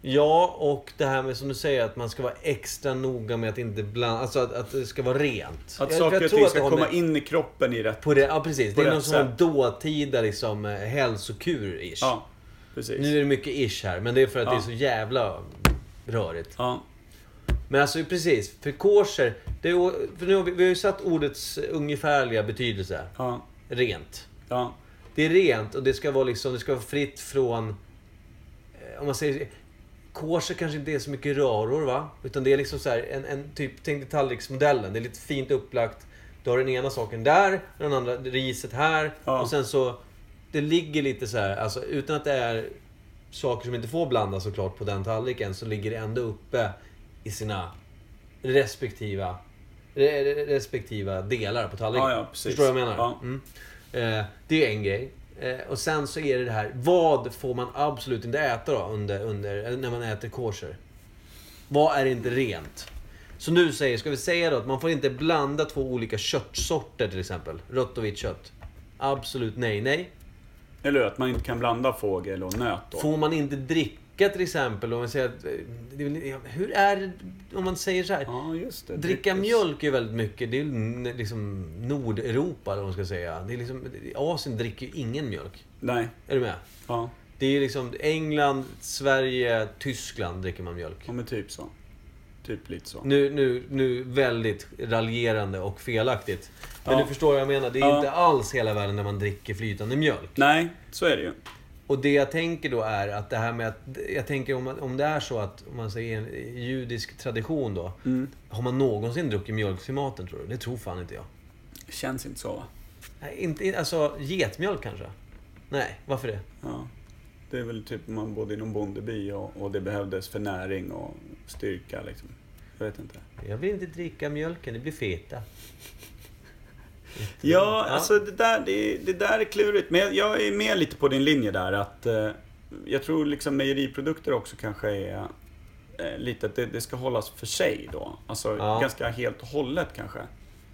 [SPEAKER 1] Ja, och det här med som du säger att man ska vara extra noga med att inte blanda... Alltså att, att det ska vara rent.
[SPEAKER 2] Att
[SPEAKER 1] Jag-
[SPEAKER 2] saker
[SPEAKER 1] jag tror
[SPEAKER 2] och ting
[SPEAKER 1] att det
[SPEAKER 2] ska
[SPEAKER 1] har med-
[SPEAKER 2] komma in i kroppen i rätt...
[SPEAKER 1] På det, ja, precis.
[SPEAKER 2] på
[SPEAKER 1] det är
[SPEAKER 2] rätt
[SPEAKER 1] någon sån
[SPEAKER 2] sätt.
[SPEAKER 1] dåtida liksom, eh, hälsokur-ish.
[SPEAKER 2] Ja, precis.
[SPEAKER 1] Nu är det mycket ish här, men det är för att
[SPEAKER 2] Ja.
[SPEAKER 1] det är så jävla rörigt.
[SPEAKER 2] Ja,
[SPEAKER 1] Men alltså precis, för kosher, det är, å- för nu har vi, vi har ju satt ordets ungefärliga betydelse.
[SPEAKER 2] ja,
[SPEAKER 1] Rent.
[SPEAKER 2] ja.
[SPEAKER 1] Det är rent och det ska vara liksom, det ska vara fritt från... eh, Om man säger... Kosher kanske inte är så mycket röror va? Utan det är liksom så här, en, en typ, tänk dig tallriksmodellen. Det är lite fint upplagt. Du har den ena saken där, den andra riset här.
[SPEAKER 2] Ja.
[SPEAKER 1] Och sen så... Det ligger lite så här, alltså utan att det är saker som inte får blandas såklart på den tallriken. Så ligger det ändå uppe i sina respektiva, re, re- respektiva delar på tallriken.
[SPEAKER 2] Ja, ja, precis.
[SPEAKER 1] Förstår du vad jag menar?
[SPEAKER 2] Ja.
[SPEAKER 1] Mm. Eh, det är en grej. Eh, och sen så är det det här, vad får man absolut inte äta då under, under, eh, när man äter kosher? Vad är inte rent? Så nu säger, ska vi säga då att man får inte blanda två olika köttsorter till exempel. Rött och vitt kött. Absolut nej, nej.
[SPEAKER 2] Eller att man inte kan blanda fågel och nöt då.
[SPEAKER 1] Får man inte dricka till exempel? Om man säger att, eh, det är väl- hur är om man säger så här?
[SPEAKER 2] Ja, just det.
[SPEAKER 1] Dricka
[SPEAKER 2] Dryckes-
[SPEAKER 1] mjölk är väldigt mycket. Det är n- liksom Nordeuropa, eller vad man ska säga. Det är liksom, Asien dricker ju ingen mjölk.
[SPEAKER 2] Nej.
[SPEAKER 1] Är du med?
[SPEAKER 2] Ja,
[SPEAKER 1] Det är liksom England, Sverige, Tyskland dricker man mjölk.
[SPEAKER 2] ja, men typ så. Typ lite så.
[SPEAKER 1] Nu, nu, nu väldigt raljerande och felaktigt. Men
[SPEAKER 2] Ja.
[SPEAKER 1] du förstår vad jag menar. Det är
[SPEAKER 2] Ja.
[SPEAKER 1] inte alls hela världen när man dricker flytande mjölk.
[SPEAKER 2] Nej, så är det ju.
[SPEAKER 1] Och det jag tänker då är att det här med att... Jag tänker om, om det är så att, om man säger en judisk tradition då.
[SPEAKER 2] Mm.
[SPEAKER 1] Har man någonsin druckit mjölk till maten tror du? Det tror fan inte jag.
[SPEAKER 2] Känns inte så va?
[SPEAKER 1] Nej, inte, alltså getmjölk kanske? Nej, varför det?
[SPEAKER 2] Ja. Det är väl typ man bodde i någon bondeby och, och det behövdes för näring och styrka liksom. Jag vet inte.
[SPEAKER 1] Jag vill inte dricka mjölken, det blir feta.
[SPEAKER 2] Ja, alltså det där, det, det där är klurigt. Men jag, jag är med lite på din linje där. Att, eh, jag tror liksom mejeriprodukter också kanske är eh, lite att det, det ska hållas för sig då. Alltså
[SPEAKER 1] Ja.
[SPEAKER 2] ganska helt och hållet kanske.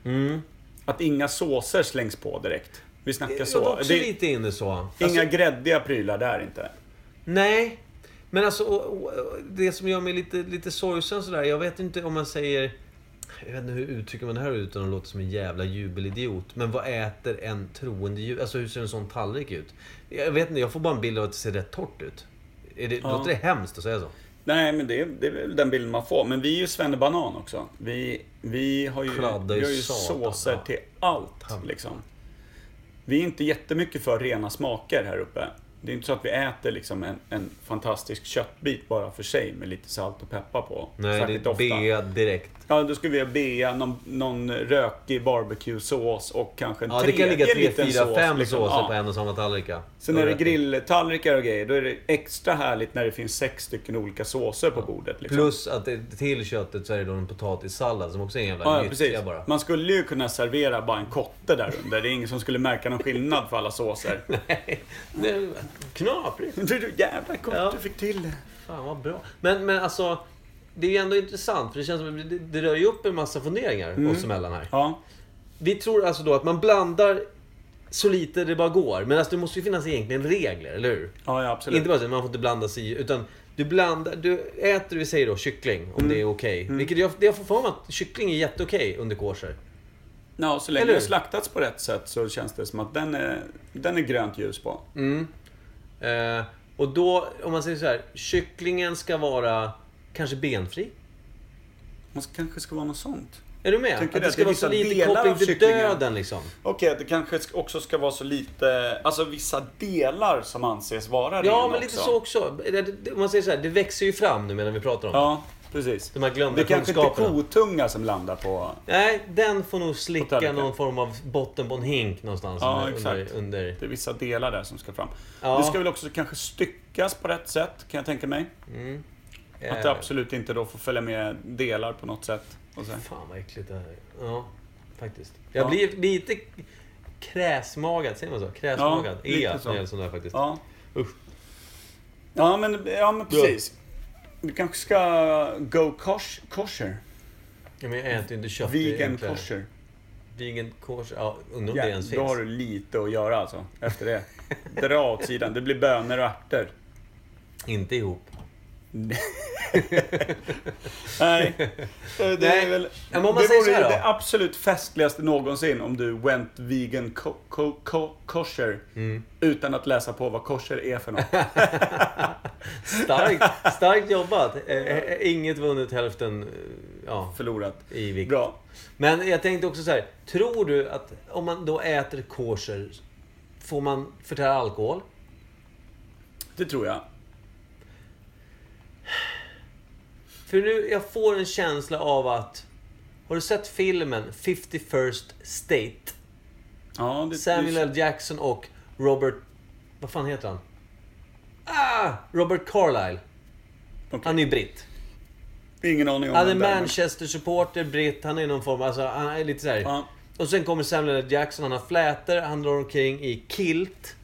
[SPEAKER 1] Mm.
[SPEAKER 2] Att inga såser slängs på direkt. Vi snackar
[SPEAKER 1] Jag
[SPEAKER 2] så.
[SPEAKER 1] var också
[SPEAKER 2] Eh, Det-
[SPEAKER 1] lite inne så. Alltså,
[SPEAKER 2] Inga gräddiga prylar där inte.
[SPEAKER 1] Nej, men alltså och, och, och, det som gör mig lite, lite sorgsen sådär. Jag vet inte om man säger... Jag vet inte hur uttrycker man det här utan att låta som en jävla jubelidiot. Men vad äter en troende jud? Alltså hur ser en sån tallrik ut? Jag vet inte, jag får bara en bild av att det ser rätt torrt ut. Är det,
[SPEAKER 2] Ja.
[SPEAKER 1] Låter det hemskt att säga så?
[SPEAKER 2] Nej, men det, det är väl den bilden man får. Men vi är ju svennebanan också. Vi, vi har ju,
[SPEAKER 1] Kladdar
[SPEAKER 2] vi
[SPEAKER 1] ju
[SPEAKER 2] har ju
[SPEAKER 1] satan,
[SPEAKER 2] såser
[SPEAKER 1] ja.
[SPEAKER 2] till allt.
[SPEAKER 1] Hamburgare.
[SPEAKER 2] Liksom. Vi är inte jättemycket för rena smaker här uppe. Det är inte så att vi äter liksom en, en fantastisk köttbit bara för sig med lite salt och peppar på.
[SPEAKER 1] Nej,
[SPEAKER 2] Särskilt
[SPEAKER 1] det är bea direkt.
[SPEAKER 2] Ja, då skulle vi ha bea, någon, någon rökig barbecuesås och kanske en
[SPEAKER 1] Ja, det kan ligga
[SPEAKER 2] tredje
[SPEAKER 1] tre,
[SPEAKER 2] liten
[SPEAKER 1] fyra,
[SPEAKER 2] sås,
[SPEAKER 1] fem
[SPEAKER 2] liksom.
[SPEAKER 1] såser
[SPEAKER 2] Ja.
[SPEAKER 1] på en och samma tallrik. ja.
[SPEAKER 2] Sen
[SPEAKER 1] Då
[SPEAKER 2] är det
[SPEAKER 1] rätt.
[SPEAKER 2] grilltallrikar och grejer. Då är det extra härligt när det finns sex stycken olika såser på bordet. Liksom.
[SPEAKER 1] Plus att det, till köttet så är det då en potatissallad som också är en jävla
[SPEAKER 2] Ja, ja,
[SPEAKER 1] gyttja
[SPEAKER 2] precis.
[SPEAKER 1] bara.
[SPEAKER 2] Man skulle ju kunna servera bara en kotte där under. Det är ingen som skulle märka någon skillnad för alla såser.
[SPEAKER 1] Det är Knaprigt.
[SPEAKER 2] Du, du jävla kotte
[SPEAKER 1] Ja.
[SPEAKER 2] du fick till det.
[SPEAKER 1] Fan vad bra. Men, men alltså, det är ju ändå intressant för det känns som att det, det rör ju upp en massa funderingar
[SPEAKER 2] Mm.
[SPEAKER 1] oss emellan här.
[SPEAKER 2] Ja,
[SPEAKER 1] Vi tror alltså då att man blandar så lite det bara går. Men alltså det måste ju finnas egentligen regler, eller hur?
[SPEAKER 2] ja, ja absolut.
[SPEAKER 1] Inte bara så att man får inte blanda sig i, utan du blandar, du äter, vi säger då kyckling
[SPEAKER 2] Mm.
[SPEAKER 1] om det är okej. Vilket jag, jag får för mig att kyckling är jätteokej under kosher.
[SPEAKER 2] Ja, så länge
[SPEAKER 1] Eller
[SPEAKER 2] det
[SPEAKER 1] hur?
[SPEAKER 2] slaktats på rätt sätt så känns det som att den är, den är grönt ljus på.
[SPEAKER 1] Mm. Eh, och då, om man säger så här, kycklingen ska vara kanske benfri.
[SPEAKER 2] Man Alltså, kanske ska vara något sånt.
[SPEAKER 1] Är du med?
[SPEAKER 2] Tycker
[SPEAKER 1] Att
[SPEAKER 2] du
[SPEAKER 1] det
[SPEAKER 2] att
[SPEAKER 1] ska
[SPEAKER 2] det
[SPEAKER 1] vara så
[SPEAKER 2] är
[SPEAKER 1] lite
[SPEAKER 2] vissa delar
[SPEAKER 1] koppling
[SPEAKER 2] av
[SPEAKER 1] till
[SPEAKER 2] kycklingen?
[SPEAKER 1] döden liksom.
[SPEAKER 2] Okej, att det kanske också ska vara så lite... Alltså vissa delar som anses vara ren
[SPEAKER 1] Ja, men
[SPEAKER 2] också.
[SPEAKER 1] lite så också. Det- det- Om man säger så här, det växer ju fram nu medan vi pratar om det.
[SPEAKER 2] Ja, precis.
[SPEAKER 1] De här glömda
[SPEAKER 2] det är kanske inte
[SPEAKER 1] kunskaperna.
[SPEAKER 2] kotunga som landar på...
[SPEAKER 1] Nej, den får nog slicka
[SPEAKER 2] tallriken.
[SPEAKER 1] någon form av botten på en hink någonstans.
[SPEAKER 2] Ja,
[SPEAKER 1] under,
[SPEAKER 2] exakt.
[SPEAKER 1] Under, under,
[SPEAKER 2] Det är vissa delar där som ska fram.
[SPEAKER 1] Ja.
[SPEAKER 2] Det ska väl också kanske styckas på rätt sätt, kan jag tänka mig. Att det
[SPEAKER 1] eh,
[SPEAKER 2] absolut inte då får följa med delar på något sätt. Och så. här.
[SPEAKER 1] Fan vad äckligt det här är. Ja, faktiskt. Jag
[SPEAKER 2] Ja.
[SPEAKER 1] blir lite kräsmagad, säger man så? Kräsmagad.
[SPEAKER 2] Ja, lite
[SPEAKER 1] Ja,
[SPEAKER 2] så.
[SPEAKER 1] e när sån där faktiskt.
[SPEAKER 2] Ja.
[SPEAKER 1] Usch.
[SPEAKER 2] Ja, men, ja, men precis. Du kanske ska go kosh, kosher.
[SPEAKER 1] Ja, men jag äter ju inte kött. det är
[SPEAKER 2] Vegan
[SPEAKER 1] enklare.
[SPEAKER 2] kosher.
[SPEAKER 1] Vegan kosher. Ja, undrar om det
[SPEAKER 2] Ja,
[SPEAKER 1] ens
[SPEAKER 2] då
[SPEAKER 1] finns.
[SPEAKER 2] har du lite att göra alltså, efter det. Dra åt sidan. Det blir bönor och ärtor.
[SPEAKER 1] Inte ihop.
[SPEAKER 2] Nej. Eh, Det
[SPEAKER 1] Nej.
[SPEAKER 2] är väl...
[SPEAKER 1] Ja, men om man
[SPEAKER 2] det
[SPEAKER 1] säger så
[SPEAKER 2] vore
[SPEAKER 1] här
[SPEAKER 2] ju
[SPEAKER 1] då.
[SPEAKER 2] det absolut festligaste någonsin om du went vegan ko- ko- ko- kosher
[SPEAKER 1] Mm.
[SPEAKER 2] utan att läsa på vad kosher är för något.
[SPEAKER 1] Starkt, starkt jobbat. Eh, eh, Inget vunnet, hälften eh, ja,
[SPEAKER 2] Förlorat.
[SPEAKER 1] i vikt.
[SPEAKER 2] Bra.
[SPEAKER 1] Men jag tänkte också så här. Tror du att om man då äter kosher, får man förtära alkohol?
[SPEAKER 2] Det tror jag.
[SPEAKER 1] För nu, jag får en känsla av att... Har du sett filmen 51st State?
[SPEAKER 2] Ja, det,
[SPEAKER 1] Samuel L. Jackson och Robert... Vad fan heter han? Ah! Robert Carlyle.
[SPEAKER 2] Okej.
[SPEAKER 1] Han är ju britt.
[SPEAKER 2] det, ingen aning om
[SPEAKER 1] Han är
[SPEAKER 2] vem det är, men-
[SPEAKER 1] Manchester-supporter, britt. Han är någon form... Alltså, han är lite så här.
[SPEAKER 2] Ja.
[SPEAKER 1] Och sen kommer Samuel L. Jackson. Han har flätor. Han drar omkring i kilt.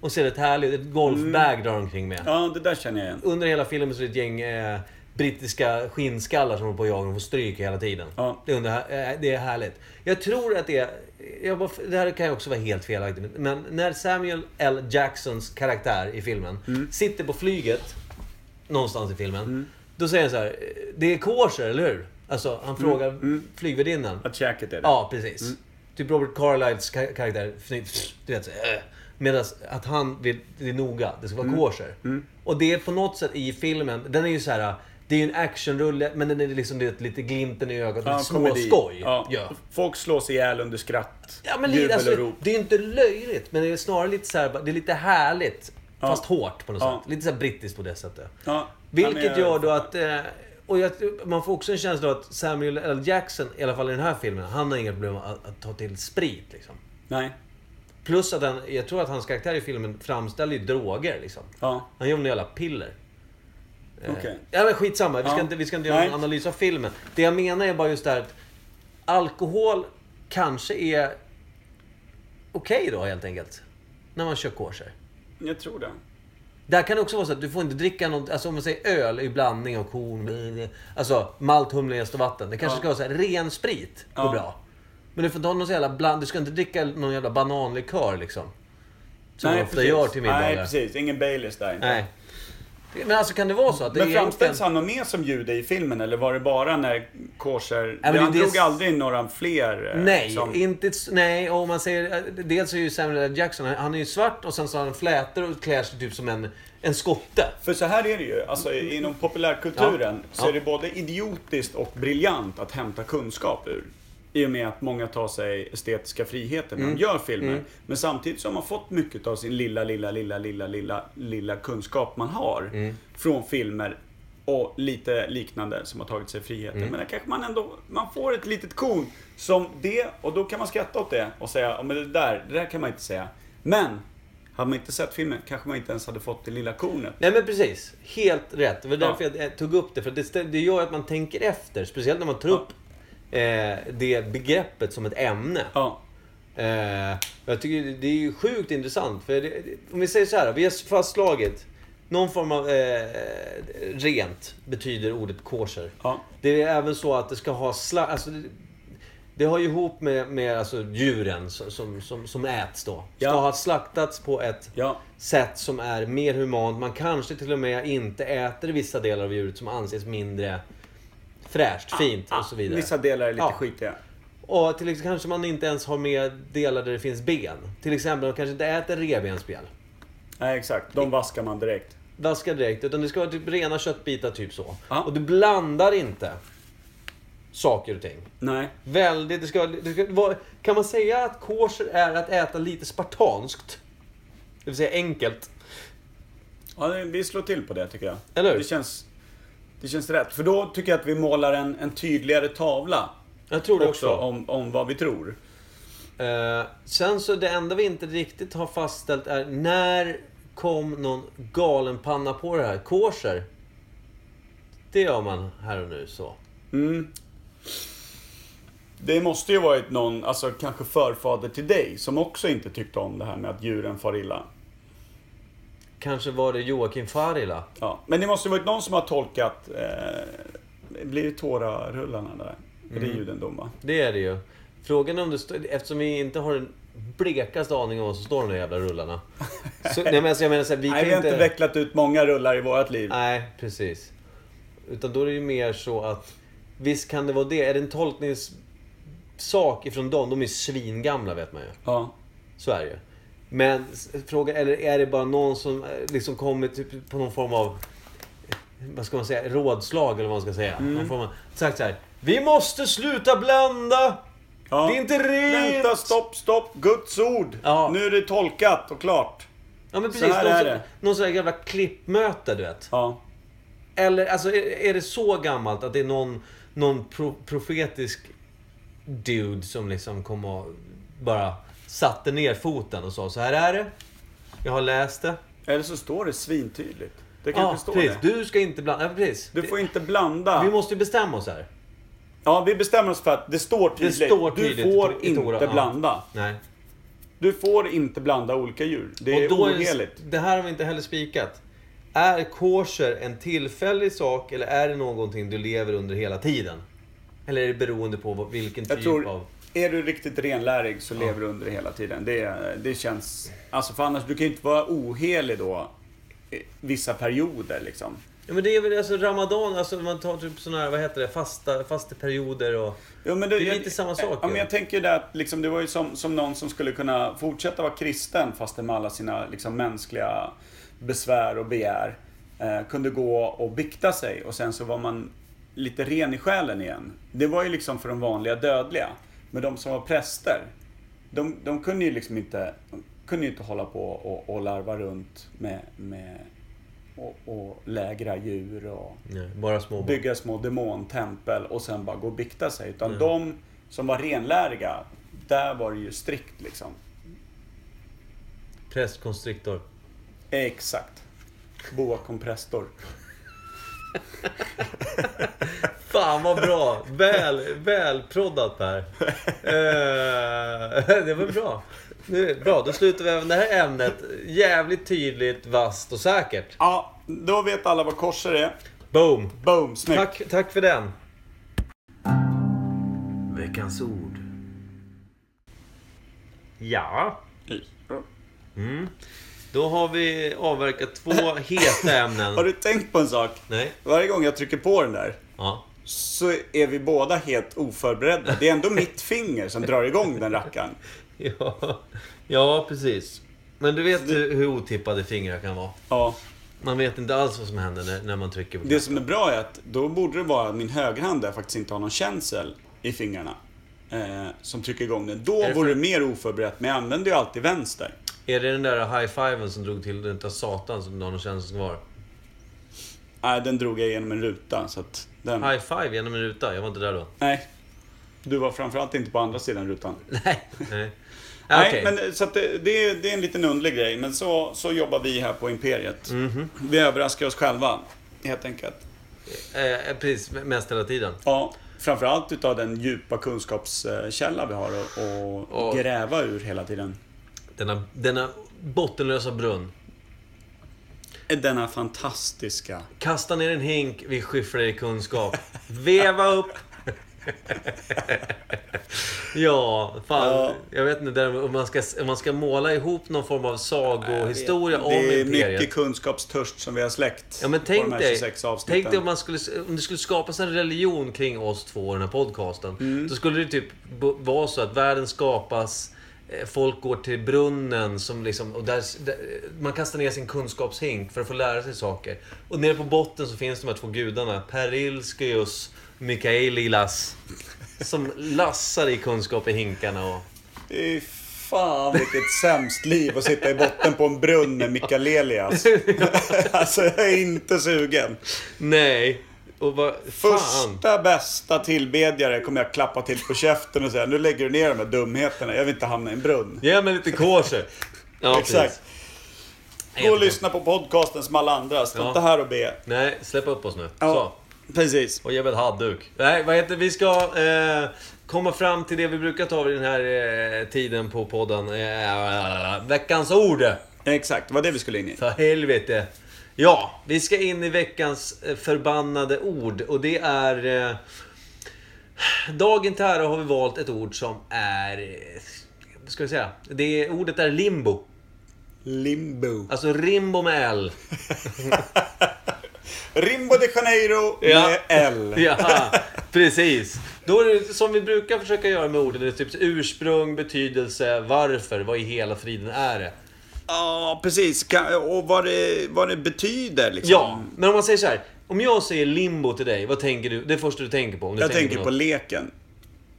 [SPEAKER 1] Och ser ett härligt... Ett golfbag drar han omkring med.
[SPEAKER 2] Mm. Ja, det där känner jag igen.
[SPEAKER 1] Under hela filmen så är det ett gäng eh, brittiska skinnskallar som håller på och jagar och de får stryk hela tiden.
[SPEAKER 2] Ja.
[SPEAKER 1] Det, är under, eh, det är härligt. Jag tror att det är... Jag bara, det här kan ju också vara helt felaktigt. Men när Samuel L. Jacksons karaktär i filmen sitter på flyget någonstans i filmen. Då säger han så här. eh, Det är kosher, eller hur? Alltså, han frågar flygvärdinnan.
[SPEAKER 2] Att käket är det.
[SPEAKER 1] Ja, precis. Typ Robert Carlyles ka- karaktär, fnitt, du vet såhär. Medan att han vill, det är noga, det ska vara
[SPEAKER 2] Mm.
[SPEAKER 1] kosher. Och det är på något sätt i filmen, den är ju så här. Det är ju en actionrulle, men den är liksom det, lite glimten i ögat,
[SPEAKER 2] Ja,
[SPEAKER 1] lite
[SPEAKER 2] komedi.
[SPEAKER 1] småskoj.
[SPEAKER 2] Ja.
[SPEAKER 1] Ja.
[SPEAKER 2] Folk slås ihjäl under skratt,
[SPEAKER 1] Ja, men
[SPEAKER 2] jubel
[SPEAKER 1] lite,
[SPEAKER 2] och
[SPEAKER 1] alltså,
[SPEAKER 2] rop.
[SPEAKER 1] det är ju inte löjligt, men det är snarare lite så här, bara- det är lite härligt. Fast hårt på något
[SPEAKER 2] Ja.
[SPEAKER 1] sätt. Lite så här brittiskt på det sättet.
[SPEAKER 2] Ja.
[SPEAKER 1] Vilket
[SPEAKER 2] Ja, men jag-
[SPEAKER 1] gör då att... eh, Och jag, man får också en känsla av att Samuel L. Jackson, i alla fall i den här filmen, han har inga problem att, att ta till sprit. Liksom.
[SPEAKER 2] Nej.
[SPEAKER 1] Plus att han, jag tror att hans karaktär i filmen framställer ju droger. Liksom.
[SPEAKER 2] Ja.
[SPEAKER 1] Han gör några jävla piller. Eh,
[SPEAKER 2] Okej.
[SPEAKER 1] Ja men skitsamma, vi ska
[SPEAKER 2] Ja.
[SPEAKER 1] inte, vi ska inte göra
[SPEAKER 2] Nej.
[SPEAKER 1] en analys av filmen. Det jag menar är bara just det här att alkohol kanske är okej då helt enkelt. När man kör kosher.
[SPEAKER 2] Jag tror det.
[SPEAKER 1] Där kan det också vara så att du får inte dricka något, alltså om man säger öl i blandning av korn, blä, alltså malt, humle, jäst och vatten. Det kanske
[SPEAKER 2] Ja.
[SPEAKER 1] ska vara så här, ren sprit går
[SPEAKER 2] Ja.
[SPEAKER 1] bra. Men du får inte ha någon så jävla bland, du ska inte dricka någon jävla bananlikör liksom. Som man ofta gör till middagar.
[SPEAKER 2] Nej, precis. Ingen Baileys där. inte.
[SPEAKER 1] Nej. Det- Men alltså kan det vara så att det
[SPEAKER 2] Men
[SPEAKER 1] är
[SPEAKER 2] framställs
[SPEAKER 1] egentligen...
[SPEAKER 2] han något mer som jude i filmen eller var det bara när korser...
[SPEAKER 1] men det är
[SPEAKER 2] han
[SPEAKER 1] det-
[SPEAKER 2] drog aldrig några fler eh,
[SPEAKER 1] Nej,
[SPEAKER 2] som...
[SPEAKER 1] inte... ett- Nej, och om man säger... Dels är ju Samuel L. Jackson, han är ju svart och sen så har han flätor och klär sig typ som en, en skotte.
[SPEAKER 2] För så här är det ju, alltså i- inom populärkulturen
[SPEAKER 1] Ja.
[SPEAKER 2] så
[SPEAKER 1] Ja.
[SPEAKER 2] är det både idiotiskt och briljant att hämta kunskap ur. I och med att många tar sig estetiska friheter när
[SPEAKER 1] Mm.
[SPEAKER 2] de gör filmer. Men samtidigt så har man fått mycket av sin lilla, lilla, lilla, lilla, lilla, lilla kunskap man har
[SPEAKER 1] Mm.
[SPEAKER 2] från filmer och lite liknande som har tagit sig friheter.
[SPEAKER 1] Mm.
[SPEAKER 2] Men där kanske man ändå, man får ett litet korn som det och då kan man skratta åt det och säga, "Ja, men det där, det där kan man inte säga. Men, hade man inte sett filmen kanske man inte ens hade fått det lilla kornet.
[SPEAKER 1] Nej men precis. Helt rätt. Det var därför jag eh, tog upp det. För det, stä- det gör att man tänker efter. Speciellt när man tar upp eh, det begreppet som ett ämne.
[SPEAKER 2] Ja.
[SPEAKER 1] Eh, jag tycker det- det är ju sjukt intressant. För det, det- om vi säger så här, vi har fastslagit. Någon form av eh, rent betyder ordet kosher.
[SPEAKER 2] Ja.
[SPEAKER 1] Det är även så att det ska ha slakt. Alltså, det, det har ju ihop med, med alltså, djuren som, som, som, som äts då. Ska
[SPEAKER 2] Ja.
[SPEAKER 1] ha slaktats på ett
[SPEAKER 2] Ja.
[SPEAKER 1] sätt som är mer humant. Man kanske till och med inte äter vissa delar av djuret som anses mindre fräscht, fint och så vidare.
[SPEAKER 2] Ah, Vissa delar är lite
[SPEAKER 1] Ja.
[SPEAKER 2] skitiga.
[SPEAKER 1] Och till exempel kanske man inte ens har med delar där det finns ben. Till exempel, man kanske inte äter revbensspjäll.
[SPEAKER 2] Nej, exakt. De vaskar man direkt.
[SPEAKER 1] Vaska direkt, utan det ska vara typ rena köttbitar, typ så.
[SPEAKER 2] Ja.
[SPEAKER 1] Och du blandar inte saker och ting.
[SPEAKER 2] Nej.
[SPEAKER 1] Väldigt, det ska, det ska vad, Kan man säga att kosher är att äta lite spartanskt? Det vill säga enkelt.
[SPEAKER 2] Ja, det- vi slår till på det tycker jag.
[SPEAKER 1] Eller hur?
[SPEAKER 2] Det känns, det känns rätt. För då tycker jag att vi målar en, en tydligare tavla.
[SPEAKER 1] Jag tror det också.
[SPEAKER 2] Också om, om vad vi tror.
[SPEAKER 1] Eh, sen så det enda vi inte riktigt har fastställt är när kom någon galenpanna på det här? Kosher? Det gör man här och nu så.
[SPEAKER 2] Det måste ju varit någon, alltså kanske förfader till dig, som också inte tyckte om det här med att djuren far illa.
[SPEAKER 1] Kanske var det Joakim Farila?
[SPEAKER 2] Ja. Men det måste ju varit någon som har tolkat...
[SPEAKER 1] Mm.
[SPEAKER 2] Eh, det blir ju tårarullarna där. För Det är ju den dumma.
[SPEAKER 1] Det är det ju. Frågan är om det står... Eftersom vi inte har den blekaste aning om vad som står i de där jävla rullarna. Så, nej men alltså jag menar såhär, vi kan
[SPEAKER 2] Nej, vi har inte vecklat ut många rullar i vårt liv.
[SPEAKER 1] Nej, precis. Utan då är det ju mer så att... Visst kan det vara det. Är det en tolkningssak ifrån dem? De är svingamla vet man ju.
[SPEAKER 2] Ja.
[SPEAKER 1] Så är det ju. Men s- fråga, eller är det bara någon som eh, liksom kommer typ på någon form av... Vad ska man säga? Rådslag eller vad man ska säga.
[SPEAKER 2] Mm.
[SPEAKER 1] Någon form av, sagt så här. Vi måste sluta blanda!
[SPEAKER 2] ja.
[SPEAKER 1] Det är inte rent!
[SPEAKER 2] Vänta, stopp, stopp. Guds ord.
[SPEAKER 1] Ja.
[SPEAKER 2] Nu är det tolkat och klart.
[SPEAKER 1] Ja men
[SPEAKER 2] Så
[SPEAKER 1] precis.
[SPEAKER 2] här
[SPEAKER 1] någon,
[SPEAKER 2] är
[SPEAKER 1] sån-
[SPEAKER 2] det.
[SPEAKER 1] någon sån här jävla klippmöte du vet.
[SPEAKER 2] Ja.
[SPEAKER 1] Eller alltså är, är det så gammalt att det är någon, någon pro, profetisk dude som liksom kom och bara satte ner foten och sa så här är det. Jag har läst det.
[SPEAKER 2] Eller så står det svintydligt. Det kanske
[SPEAKER 1] Ja,
[SPEAKER 2] står
[SPEAKER 1] precis.
[SPEAKER 2] det.
[SPEAKER 1] Du ska inte blanda. Ja, precis.
[SPEAKER 2] Du får inte blanda.
[SPEAKER 1] Vi måste ju bestämma oss här.
[SPEAKER 2] Ja, vi bestämmer oss för att det står tydligt.
[SPEAKER 1] står tydligt
[SPEAKER 2] du får
[SPEAKER 1] i Tora,
[SPEAKER 2] inte
[SPEAKER 1] ja.
[SPEAKER 2] blanda.
[SPEAKER 1] Nej.
[SPEAKER 2] Du får inte blanda olika djur. Det är
[SPEAKER 1] då
[SPEAKER 2] oheligt.
[SPEAKER 1] det här har vi inte heller spikat. Är kosher en tillfällig sak eller är det någonting du lever under hela tiden? Eller är det beroende på vad- vilken
[SPEAKER 2] Jag
[SPEAKER 1] typ
[SPEAKER 2] tror,
[SPEAKER 1] av...
[SPEAKER 2] är du riktigt renlärig så lever du under det hela tiden. Det, det känns... Alltså för annars, du kan ju inte vara ohelig då. eh, Vissa perioder liksom.
[SPEAKER 1] Ja, men det är väl alltså ramadan, alltså man tar typ sådana här, vad heter det, fasta, fasta perioder och...
[SPEAKER 2] Ja, men du,
[SPEAKER 1] Det är
[SPEAKER 2] jag-
[SPEAKER 1] lite samma sak
[SPEAKER 2] Ja,
[SPEAKER 1] ju.
[SPEAKER 2] men jag tänker det att liksom, det var ju som, som någon som skulle kunna fortsätta vara kristen fastän med alla sina liksom, mänskliga besvär och begär. Eh, kunde gå och bikta sig och sen så var man lite ren i själen igen. Det var ju liksom för de vanliga dödliga. Men de som var präster, de, de kunde ju liksom inte, de kunde ju inte hålla på och, och larva runt med, med och, och lägra djur och
[SPEAKER 1] Nej, bara små barn.
[SPEAKER 2] bygga små demontempel och sen bara gå och bikta sig. Utan de som var renläriga, där var det ju strikt liksom.
[SPEAKER 1] Prästkonstriktor.
[SPEAKER 2] Exakt. Boa komprestor.
[SPEAKER 1] Fan vad bra! Väl, väl proddat Per. Eh, det var bra. Nu, bra, då slutar vi även det här ämnet. Jävligt tydligt, vasst och säkert.
[SPEAKER 2] Ja, då vet alla vad korser är.
[SPEAKER 1] Boom!
[SPEAKER 2] Boom, snyggt.
[SPEAKER 1] Tack, tack för den.
[SPEAKER 4] Veckans ord.
[SPEAKER 1] Ja. Då har vi avverkat två heta
[SPEAKER 2] Har
[SPEAKER 1] ämnen.
[SPEAKER 2] du tänkt på en sak?
[SPEAKER 1] Nej.
[SPEAKER 2] Varje gång jag trycker på den där
[SPEAKER 1] Ja.
[SPEAKER 2] så är vi båda helt oförberedda. Det är ändå mitt finger som drar igång den rackaren.
[SPEAKER 1] Ja, ja precis. Men du vet hur, hur otippade fingrar kan vara.
[SPEAKER 2] Ja,
[SPEAKER 1] Man vet inte alls vad som händer när, när man trycker på
[SPEAKER 2] det som är bra är att då borde det vara min högerhand där jag faktiskt inte har någon känsel i fingrarna. Eh, som trycker igång den. Då
[SPEAKER 1] det
[SPEAKER 2] vore det mer oförberett, men jag använder ju alltid vänster.
[SPEAKER 1] Är det den där high-fiven som drog till den utav satan som någon känns kvar?
[SPEAKER 2] Nej, den drog jag genom en ruta. Så att den...
[SPEAKER 1] High-five genom en ruta? Jag var inte där då.
[SPEAKER 2] Nej. Du var framförallt inte på andra sidan rutan.
[SPEAKER 1] Nej. Nej,
[SPEAKER 2] Nej,
[SPEAKER 1] Okej.
[SPEAKER 2] men eh, så att det, det, är, det är en liten underlig grej. Men så, så jobbar vi här på Imperiet.
[SPEAKER 1] Mhm.
[SPEAKER 2] Vi överraskar oss själva, helt enkelt.
[SPEAKER 1] Eh, precis, mest hela tiden.
[SPEAKER 2] Ja, framförallt utav den djupa kunskapskälla vi har att att
[SPEAKER 1] Och-
[SPEAKER 2] gräva ur hela tiden.
[SPEAKER 1] Denna, denna bottenlösa brunn.
[SPEAKER 2] Denna fantastiska...
[SPEAKER 1] Kasta ner en hink, vi skyfflar i kunskap. Veva upp! ja, fan.
[SPEAKER 2] Ja.
[SPEAKER 1] Jag vet inte där, om, man ska, om man ska måla ihop någon form av sagohistoria om
[SPEAKER 2] det är
[SPEAKER 1] imperiet.
[SPEAKER 2] mycket kunskapstörst som vi har släckt
[SPEAKER 1] Ja, men
[SPEAKER 2] på de
[SPEAKER 1] tänk
[SPEAKER 2] här
[SPEAKER 1] dig,
[SPEAKER 2] 26 avsnitten.
[SPEAKER 1] tänk dig om, man skulle, om det skulle skapas en religion kring oss två och den här podcasten.
[SPEAKER 2] Mm.
[SPEAKER 1] Då skulle det typ b- vara så att världen skapas, eh, folk går till brunnen som liksom, och där, där, man kastar ner sin kunskapshink för att få lära sig saker. Och nere på botten så finns de här två gudarna, Perilskeus Mikaelilas. Som lassar i kunskap i hinkarna och...
[SPEAKER 2] Fy fan vilket sämst liv att sitta i botten på en brunn med Mikael Elias. alltså jag är inte sugen.
[SPEAKER 1] Nej! Och vad... Fan!
[SPEAKER 2] Första bästa tillbedjare kommer jag klappa till på käften och säga nu lägger du ner de här dumheterna, jag vill inte hamna i en brunn.
[SPEAKER 1] Ge mig lite kosher! Ja,
[SPEAKER 2] Exakt.
[SPEAKER 1] precis.
[SPEAKER 2] Gå och lyssna på podcasten som alla andra, stå
[SPEAKER 1] Ja.
[SPEAKER 2] inte här och be.
[SPEAKER 1] Nej, släpp upp oss nu.
[SPEAKER 2] Ja,
[SPEAKER 1] Så.
[SPEAKER 2] precis.
[SPEAKER 1] Och ge mig en handduk. Nej, vad heter Vi ska eh, komma fram till det vi brukar ta vid den här eh, tiden på podden. Eh, veckans ord!
[SPEAKER 2] Exakt, det var det vi skulle in i.
[SPEAKER 1] För helvete. Ja, vi ska in i veckans eh, förbannade ord. Och det är... Eh, Dagen till ära har vi valt ett ord som är... eh, Vad ska vi säga? Det, ordet är limbo.
[SPEAKER 2] Limbo.
[SPEAKER 1] Alltså rimbo med L.
[SPEAKER 2] Rimbo de Janeiro med L.
[SPEAKER 1] Ja, precis. Då är det som vi brukar försöka göra med orden. Det är typ ursprung, betydelse, varför, vad i hela friden är det?
[SPEAKER 2] Ja, precis. Ka- Och vad det, vad det betyder liksom.
[SPEAKER 1] Ja, Mm. men om man säger så här. Om jag säger limbo till dig, vad tänker du? Det är första du tänker på. Om du
[SPEAKER 2] Jag tänker på
[SPEAKER 1] något.
[SPEAKER 2] leken.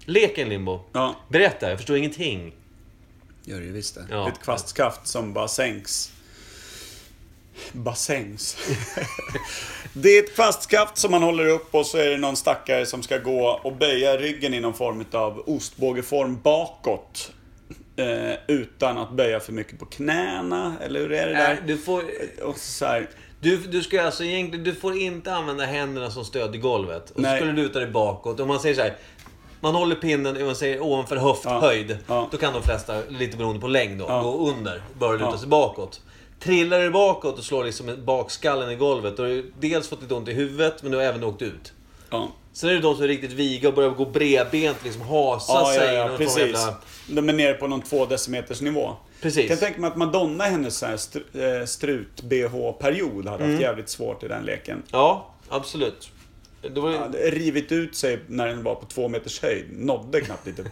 [SPEAKER 1] Leken limbo.
[SPEAKER 2] Ja.
[SPEAKER 1] Berätta, jag förstår ingenting.
[SPEAKER 2] Gör det visst det.
[SPEAKER 1] Ja.
[SPEAKER 2] Ett kvastskaft som bara sänks. Bara sänks. det är ett kvastskaft som man håller upp och så är det någon stackare som ska gå och böja ryggen i någon form av ostbågeform bakåt. Eh, utan att böja för mycket på knäna, eller hur är det
[SPEAKER 1] Nej,
[SPEAKER 2] där?
[SPEAKER 1] Äh, du får...
[SPEAKER 2] Och så här,
[SPEAKER 1] Du, du ska alltså egentligen, du får inte använda händerna som stöd i golvet. Och så
[SPEAKER 2] Nej.
[SPEAKER 1] ska du luta dig bakåt. Om man säger så här. Man håller pinnen man säger, ovanför höfthöjd.
[SPEAKER 2] Ja, ja.
[SPEAKER 1] Då kan de flesta, lite beroende på längd då,
[SPEAKER 2] Ja.
[SPEAKER 1] gå under. Börja luta
[SPEAKER 2] Ja.
[SPEAKER 1] sig bakåt. Trillar du bakåt och slår liksom bakskallen i golvet. Då har du dels fått lite ont i huvudet, men du har även åkt ut.
[SPEAKER 2] ja.
[SPEAKER 1] Sen är det de som är riktigt viga och börjar gå bredbent, liksom hasa
[SPEAKER 2] Ja, ja,
[SPEAKER 1] sig. i
[SPEAKER 2] ja,
[SPEAKER 1] någon form av
[SPEAKER 2] precis.
[SPEAKER 1] jävla-
[SPEAKER 2] De är nere på någon två decimeters nivå.
[SPEAKER 1] Precis.
[SPEAKER 2] Jag kan tänka mig att Madonna i hennes så här str- eh, strut-bh-period hade haft jävligt svårt i den leken.
[SPEAKER 1] Ja, absolut. Det var,
[SPEAKER 2] Hon hade rivit ut sig när den var på två meters höjd. Nådde knappt lite.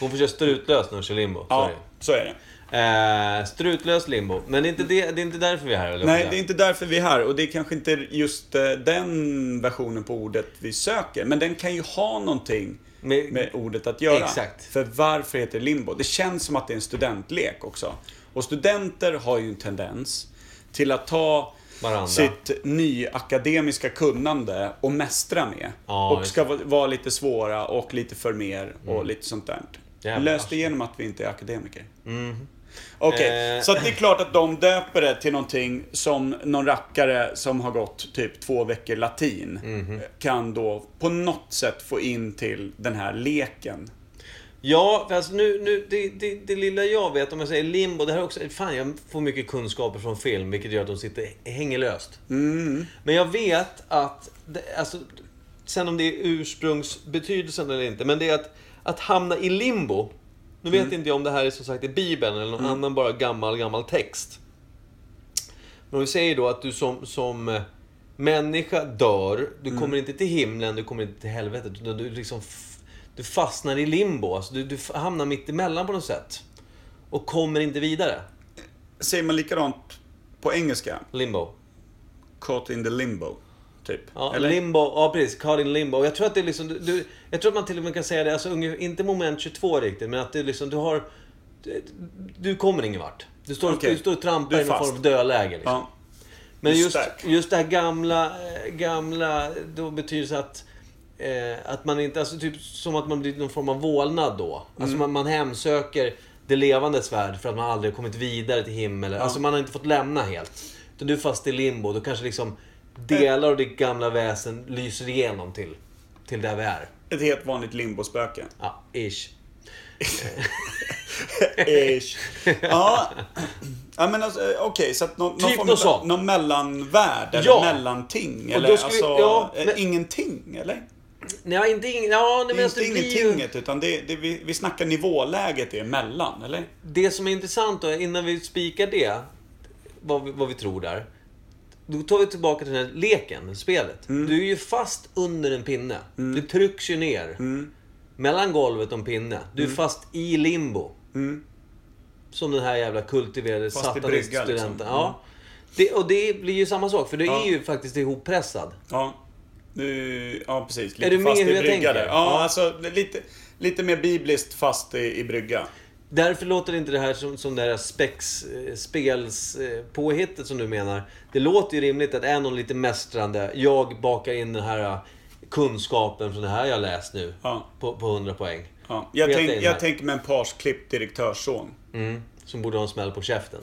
[SPEAKER 1] Hon försöker strutlös när hon kör limbo. så är
[SPEAKER 2] Ja,
[SPEAKER 1] det.
[SPEAKER 2] så är det.
[SPEAKER 1] Eh, strutlös limbo. Men det är inte, det, det är inte därför vi är här, eller
[SPEAKER 2] Nej, det är inte därför vi är här. Och det är kanske inte just eh, den versionen på ordet vi söker. Men den kan ju ha någonting
[SPEAKER 1] Med-
[SPEAKER 2] med, ordet att göra.
[SPEAKER 1] Exakt.
[SPEAKER 2] För varför heter det limbo? Det känns som att det är en studentlek också. Och studenter har ju en tendens till att ta
[SPEAKER 1] Varandra.
[SPEAKER 2] sitt nyakademiska kunnande och mästra med.
[SPEAKER 1] Ja,
[SPEAKER 2] och
[SPEAKER 1] just Mm.
[SPEAKER 2] ska va- vara lite svåra och lite förmer och lite sånt där.
[SPEAKER 1] Jävlar.
[SPEAKER 2] Lös det genom att vi inte är akademiker. Okej,
[SPEAKER 1] Eh.
[SPEAKER 2] så att det är klart att de döper det till någonting som någon rackare som har gått typ två veckor latin
[SPEAKER 1] Mhm.
[SPEAKER 2] kan då på något sätt få in till den här leken.
[SPEAKER 1] Ja, för alltså nu, nu, det, det, det lilla jag vet, om jag säger limbo, det här är också... Fan, jag får mycket kunskaper från film, vilket gör att de sitter, hänger löst.
[SPEAKER 2] Mm.
[SPEAKER 1] Men jag vet att, det, alltså, sen om det är ursprungsbetydelsen eller inte, men det är att, att hamna i limbo. Nu
[SPEAKER 2] Mm.
[SPEAKER 1] vet inte jag om det här är som sagt i Bibeln eller någon annan bara gammal, gammal text. Men om vi säger då att du som, som eh, människa dör, du
[SPEAKER 2] Mm.
[SPEAKER 1] kommer inte till himlen, du kommer inte till helvetet. Utan du, liksom f- du fastnar i limbo, alltså du, du f- hamnar mitt emellan på något sätt. Och kommer inte vidare.
[SPEAKER 2] Säger man likadant på engelska?
[SPEAKER 1] Limbo.
[SPEAKER 2] Caught in the limbo, typ.
[SPEAKER 1] Ja,
[SPEAKER 2] Eller?
[SPEAKER 1] limbo, ja precis. Caught in limbo. Och Jag tror att det är liksom, du- du, jag tror att man till och med kan säga det, alltså, unge- inte moment 22 riktigt, men att det är liksom, du har... Du, du kommer ingen vart. Du står,
[SPEAKER 2] Okej.
[SPEAKER 1] du står och trampar
[SPEAKER 2] Du
[SPEAKER 1] i
[SPEAKER 2] är
[SPEAKER 1] någon
[SPEAKER 2] fast.
[SPEAKER 1] form av dödläge. Liksom.
[SPEAKER 2] ja.
[SPEAKER 1] men
[SPEAKER 2] du är
[SPEAKER 1] just,
[SPEAKER 2] stuck.
[SPEAKER 1] just det här gamla, eh, gamla, då betyder så att... Eh, att man inte, alltså typ som att man blir någon form av vålnad då. Alltså man, man hemsöker det levandes värld för att man aldrig kommit vidare till himmel. Alltså man har inte fått lämna helt. Utan du är fast i limbo. Du kanske liksom delar av ditt gamla väsen lyser igenom till, till där vi är.
[SPEAKER 2] Ett helt vanligt limbospöke.
[SPEAKER 1] Ja, ish.
[SPEAKER 2] Ish. Ja. ja, men alltså, eh, okej, så att någon,
[SPEAKER 1] Typ
[SPEAKER 2] någon,
[SPEAKER 1] något
[SPEAKER 2] form av,
[SPEAKER 1] sånt.
[SPEAKER 2] någon mellanvärld eller
[SPEAKER 1] Ja.
[SPEAKER 2] mellanting.
[SPEAKER 1] Och
[SPEAKER 2] Eller
[SPEAKER 1] då ska vi-
[SPEAKER 2] alltså,
[SPEAKER 1] ja,
[SPEAKER 2] eh,
[SPEAKER 1] men-
[SPEAKER 2] ingenting, eller?
[SPEAKER 1] Nej, inte ing- ja, nej,
[SPEAKER 2] Det är
[SPEAKER 1] men alltså,
[SPEAKER 2] inte
[SPEAKER 1] det blir ju...
[SPEAKER 2] ingentinget, utan det, det, vi, vi snackar nivåläget emellan, eller?
[SPEAKER 1] Det som är intressant då, innan vi spikar det, vad vi, vad vi tror där. Då tar vi tillbaka till den här leken, spelet.
[SPEAKER 2] Mm.
[SPEAKER 1] Du är ju fast under en pinne. Du trycks ju ner.
[SPEAKER 2] Mm.
[SPEAKER 1] Mellan golvet och en pinne. Du är fast i limbo. Som den här jävla kultiverade
[SPEAKER 2] Mm. Fast i brygga,
[SPEAKER 1] sataniststudenten.
[SPEAKER 2] liksom. Mm.
[SPEAKER 1] Ja. Det, och det blir ju samma sak, för du
[SPEAKER 2] Ja.
[SPEAKER 1] är ju faktiskt ihoppressad.
[SPEAKER 2] Ja. Du, ja, precis. Lite
[SPEAKER 1] Är du med
[SPEAKER 2] fast
[SPEAKER 1] hur
[SPEAKER 2] i
[SPEAKER 1] jag
[SPEAKER 2] brygga
[SPEAKER 1] tänker?
[SPEAKER 2] där. Ja,
[SPEAKER 1] Ja.
[SPEAKER 2] alltså lite, lite mer bibliskt fast i, i brygga.
[SPEAKER 1] Därför låter inte det här som, som det här spex, eh, spels, eh, påhittet som du menar. Det låter ju rimligt att är någon lite mästrande. Jag bakar in den här eh, kunskapen från det här jag läst nu.
[SPEAKER 2] Ja.
[SPEAKER 1] På, på 100 poäng.
[SPEAKER 2] Ja. Jag,
[SPEAKER 1] Peta in
[SPEAKER 2] tänk,
[SPEAKER 1] här.
[SPEAKER 2] jag tänker med en parsklippt direktörsson.
[SPEAKER 1] Mm, som borde ha en smäll på käften.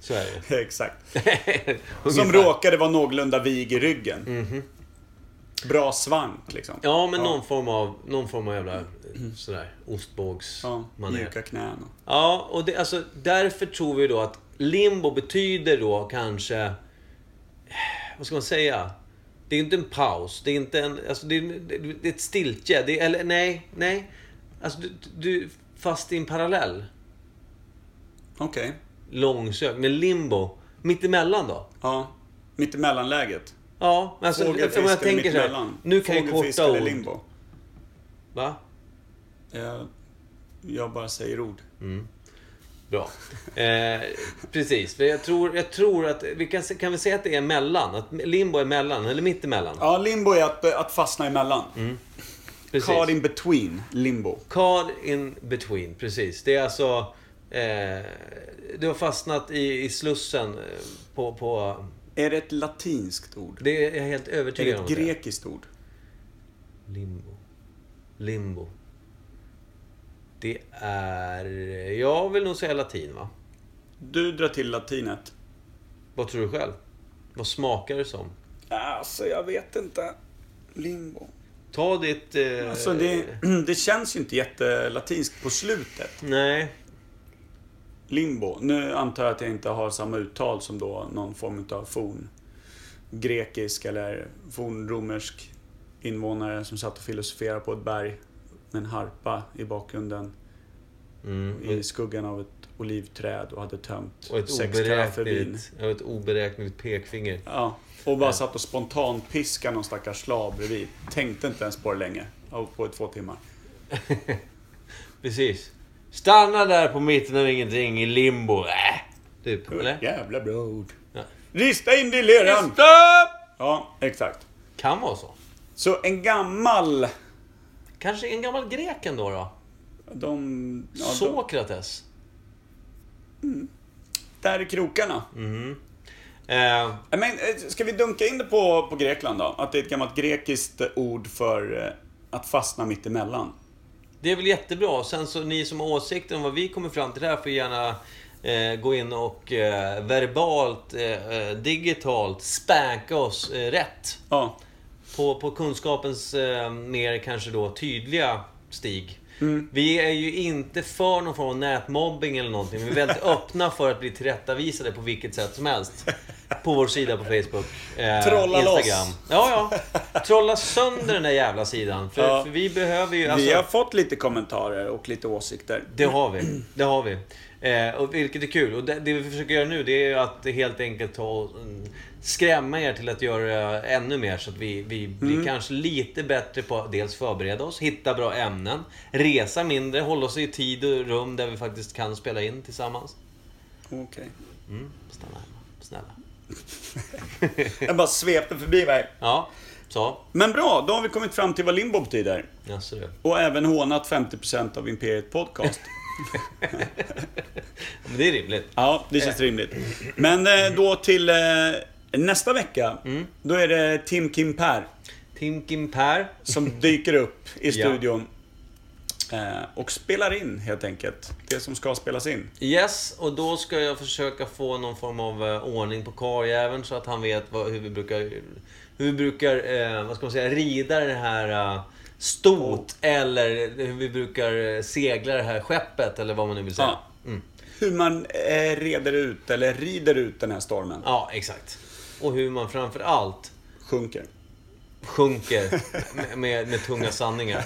[SPEAKER 1] Så är det ju.
[SPEAKER 2] Exakt.
[SPEAKER 1] Ungefär. Mhm.
[SPEAKER 2] Som råkade vara någorlunda vig i ryggen. Bra svank liksom.
[SPEAKER 1] Ja, men någon form av, någon form av jävla eh, sådär ostbågs...
[SPEAKER 2] Ja,
[SPEAKER 1] manér.
[SPEAKER 2] mjuka knän.
[SPEAKER 1] Ja, och det, alltså, därför tror vi då att limbo betyder då kanske... eh, Vad ska man säga? Det är ju inte en paus. Det är inte en... Alltså det är, det är ett stiltje. Det är, eller nej, nej. Alltså du, du är fast i en parallell.
[SPEAKER 2] Okej.
[SPEAKER 1] Långsökt. Men limbo. Mittemellan då?
[SPEAKER 2] Ja. Mitt i mellanläget.
[SPEAKER 1] Ja, men alltså...
[SPEAKER 2] Fågelfisk
[SPEAKER 1] om jag
[SPEAKER 2] eller
[SPEAKER 1] tänker så här,
[SPEAKER 2] mittemellan.
[SPEAKER 1] Nu kan jag
[SPEAKER 2] Fågelfisk
[SPEAKER 1] korta
[SPEAKER 2] eller
[SPEAKER 1] ord.
[SPEAKER 2] limbo.
[SPEAKER 1] Va?
[SPEAKER 2] Jag, Eh, jag bara säger ord.
[SPEAKER 1] Bra. Eh, precis. För jag tror, jag tror att... Vi kan, se- kan vi säga att det är mellan? Att limbo är mellan? Eller mittemellan?
[SPEAKER 2] Ja, limbo är att, att fastna emellan.
[SPEAKER 1] precis.
[SPEAKER 2] Caught in between, limbo.
[SPEAKER 1] Card in between, precis. Det är alltså... Eh, du har fastnat i, i slussen eh, på, på...
[SPEAKER 2] Är det ett latinskt ord?
[SPEAKER 1] Det är jag helt
[SPEAKER 2] Är det
[SPEAKER 1] övertygad
[SPEAKER 2] ett
[SPEAKER 1] om.
[SPEAKER 2] grekiskt ord?
[SPEAKER 1] det. Limbo. Limbo. Det är... Jag vill nog säga latin, va?
[SPEAKER 2] Du drar till latinet.
[SPEAKER 1] Vad tror du själv? Vad smakar det som?
[SPEAKER 2] Alltså, jag vet inte. Limbo.
[SPEAKER 1] Ta ditt... Eh,
[SPEAKER 2] Alltså, det, det känns ju inte jättelatinskt på slutet.
[SPEAKER 1] Nej.
[SPEAKER 2] Limbo. Nu antar jag att jag inte har samma uttal som då någon form av forn grekisk eller fornromersk invånare som satt och filosoferade på ett berg med en harpa i bakgrunden
[SPEAKER 1] Mm.
[SPEAKER 2] i skuggan av ett olivträd och hade tömt
[SPEAKER 1] Och ett
[SPEAKER 2] sex för vin.
[SPEAKER 1] oberäkneligt, och ett oberäkneligt pekfinger.
[SPEAKER 2] Ja, och bara satt och spontant piskade någon stackars slav bredvid. Tänkte inte ens på det länge. Ja, På två timmar.
[SPEAKER 1] Precis. Stanna där på mitten av ingenting i limbo. Äh, typ, eller?
[SPEAKER 2] Jävla bra ord.
[SPEAKER 1] Ja.
[SPEAKER 2] Rista in det i leran!
[SPEAKER 1] Stopp!
[SPEAKER 2] Ja, exakt.
[SPEAKER 1] Kan vara så.
[SPEAKER 2] Så en gammal
[SPEAKER 1] Kanske en gammal grek ändå då?
[SPEAKER 2] De... Ja, de
[SPEAKER 1] Sokrates.
[SPEAKER 2] där är krokarna.
[SPEAKER 1] Mm. Eh,
[SPEAKER 2] Nej, Men, eh, ska vi dunka in det på, på Grekland då? Att det är ett gammalt grekiskt ord för eh, att fastna mitt emellan.
[SPEAKER 1] det är väl jättebra. Sen så ni som har åsikter om vad vi kommer fram till här får gärna eh, gå in och eh, verbalt, eh, eh, digitalt spanka oss eh, rätt.
[SPEAKER 2] Ja,
[SPEAKER 1] På, på kunskapens eh, mer kanske då tydliga stig.
[SPEAKER 2] Mm.
[SPEAKER 1] Vi är ju inte för någon form av nätmobbing eller någonting. Vi är väldigt öppna för att bli tillrättavisade på vilket sätt som helst. På vår sida på Facebook. Eh,
[SPEAKER 2] Trolla loss.
[SPEAKER 1] Instagram. Ja, ja. Trolla sönder den där jävla sidan. För,
[SPEAKER 2] Ja.
[SPEAKER 1] för vi behöver ju... Alltså,
[SPEAKER 2] vi har fått lite kommentarer och lite åsikter.
[SPEAKER 1] det har vi. Det har vi. Eh, och vilket är kul. Och det, det vi försöker göra nu det är ju att helt enkelt ta och mm, skrämma er till att göra ännu mer. Så att vi, vi blir kanske lite bättre på att dels förbereda oss, hitta bra ämnen, resa mindre, hålla oss i tid och rum där vi faktiskt kan spela in tillsammans.
[SPEAKER 2] Okej.
[SPEAKER 1] Mm, stanna hemma. Snälla.
[SPEAKER 2] Jag bara svepte förbi mig.
[SPEAKER 1] Ja, så.
[SPEAKER 2] Men bra, då har vi kommit fram till vad limbo betyder.
[SPEAKER 1] Jaså du.
[SPEAKER 2] Och även hånat 50% av Imperiet Podcast.
[SPEAKER 1] Men det är rimligt.
[SPEAKER 2] Ja, det
[SPEAKER 1] Eh.
[SPEAKER 2] känns rimligt. Men eh, då till eh, nästa vecka.
[SPEAKER 1] Mm.
[SPEAKER 2] Då är det Tim Kim Per.
[SPEAKER 1] Tim Kim Per.
[SPEAKER 2] som dyker upp i
[SPEAKER 1] Ja.
[SPEAKER 2] studion. Eh, och spelar in helt enkelt. Det som ska spelas in.
[SPEAKER 1] Yes, och då ska jag försöka få någon form av eh, ordning på karljäveln så att han vet vad, hur vi brukar, hur vi brukar eh, vad ska man säga, rida det här eh, stot eller hur vi brukar eh, segla det här skeppet eller vad man nu vill säga.
[SPEAKER 2] Ja. Hur man eh, reder ut, eller rider ut den här stormen.
[SPEAKER 1] Ja, exakt. Och hur man framför allt
[SPEAKER 2] Sjunker.
[SPEAKER 1] sjunker med, med, med tunga sanningar.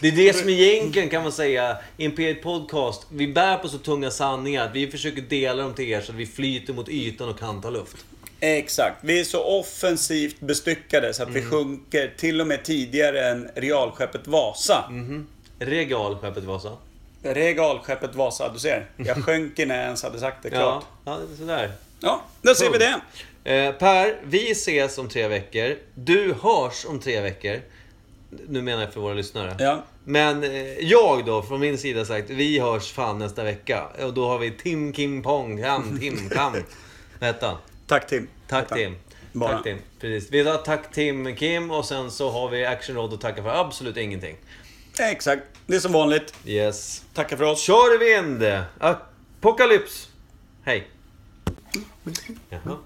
[SPEAKER 1] Det är det som egentligen kan man säga, Imperiet Podcast, vi bär på så tunga sanningar att vi försöker dela dem till er så att vi flyter mot ytan och kan ta luft.
[SPEAKER 2] Exakt. Vi är så offensivt bestyckade så att
[SPEAKER 1] Mm.
[SPEAKER 2] vi sjunker till och med tidigare än realskeppet Vasa.
[SPEAKER 1] Mhm. Regalskeppet Vasa.
[SPEAKER 2] Regalskeppet Vasa, du ser. Jag sjönk innan jag ens hade sagt det
[SPEAKER 1] Ja,
[SPEAKER 2] klart.
[SPEAKER 1] ja det är sådär.
[SPEAKER 2] Ja, då ser vi
[SPEAKER 1] Punkt.
[SPEAKER 2] det.
[SPEAKER 1] Eh, per, vi ses om tre veckor. Du hörs om tre veckor. Nu menar jag för våra lyssnare.
[SPEAKER 2] Ja.
[SPEAKER 1] Men eh, jag då, från min sida sagt, vi hörs fan nästa vecka. Och då har vi Tim Kim Pong, Kam, Tim Kam. Vad hette han?
[SPEAKER 2] Tack Tim.
[SPEAKER 1] Tack Tim.
[SPEAKER 2] Bara.
[SPEAKER 1] Tack Tim. Precis. Vi har Tack Tim Kim och sen så har vi Action Road och Tacka för absolut ingenting.
[SPEAKER 2] Exakt. Det är som vanligt.
[SPEAKER 1] Yes.
[SPEAKER 2] Tackar för oss.
[SPEAKER 1] Kör i vind! Apokalyps! Hej. Jaha.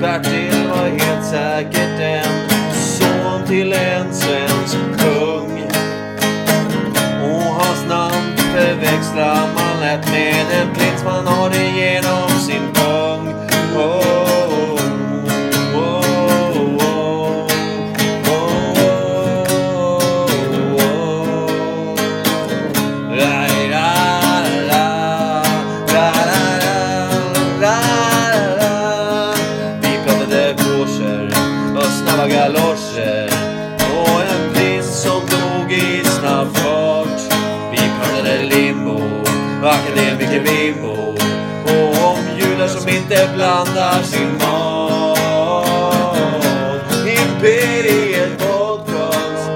[SPEAKER 1] Bertil var helt säkert en son till en svensk kung. Och hans namn förväxlar man lätt med en prins man har det genom sin pung. Oh, oh, oh, oh, oh, oh, oh. Vi pratade broscher och snabba galoscher och en prins som dog i snabb fart. Vi pratade limbo och akademikerbimbo och om judar som inte blandar sin mat. Imperiet Podcast.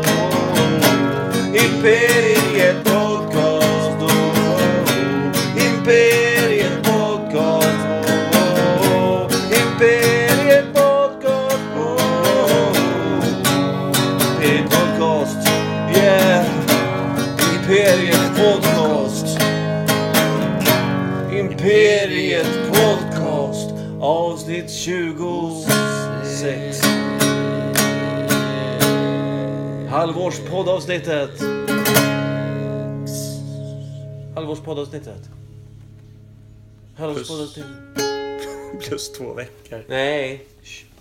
[SPEAKER 1] Imperiet Podcast. Oh, oh. Imperiet Podcast. Oh, oh. Imperiet Podcast. Oh, oh. Imperiet Podcast. Yeah. Imperiet Podcast. Imperiet Podcast. Avsnitt 26. Halvårspoddavsnittet. Halvårspoddavsnittet. Halvårspoddavsnittet.
[SPEAKER 2] Plus två veckor.
[SPEAKER 1] Nej. Shh.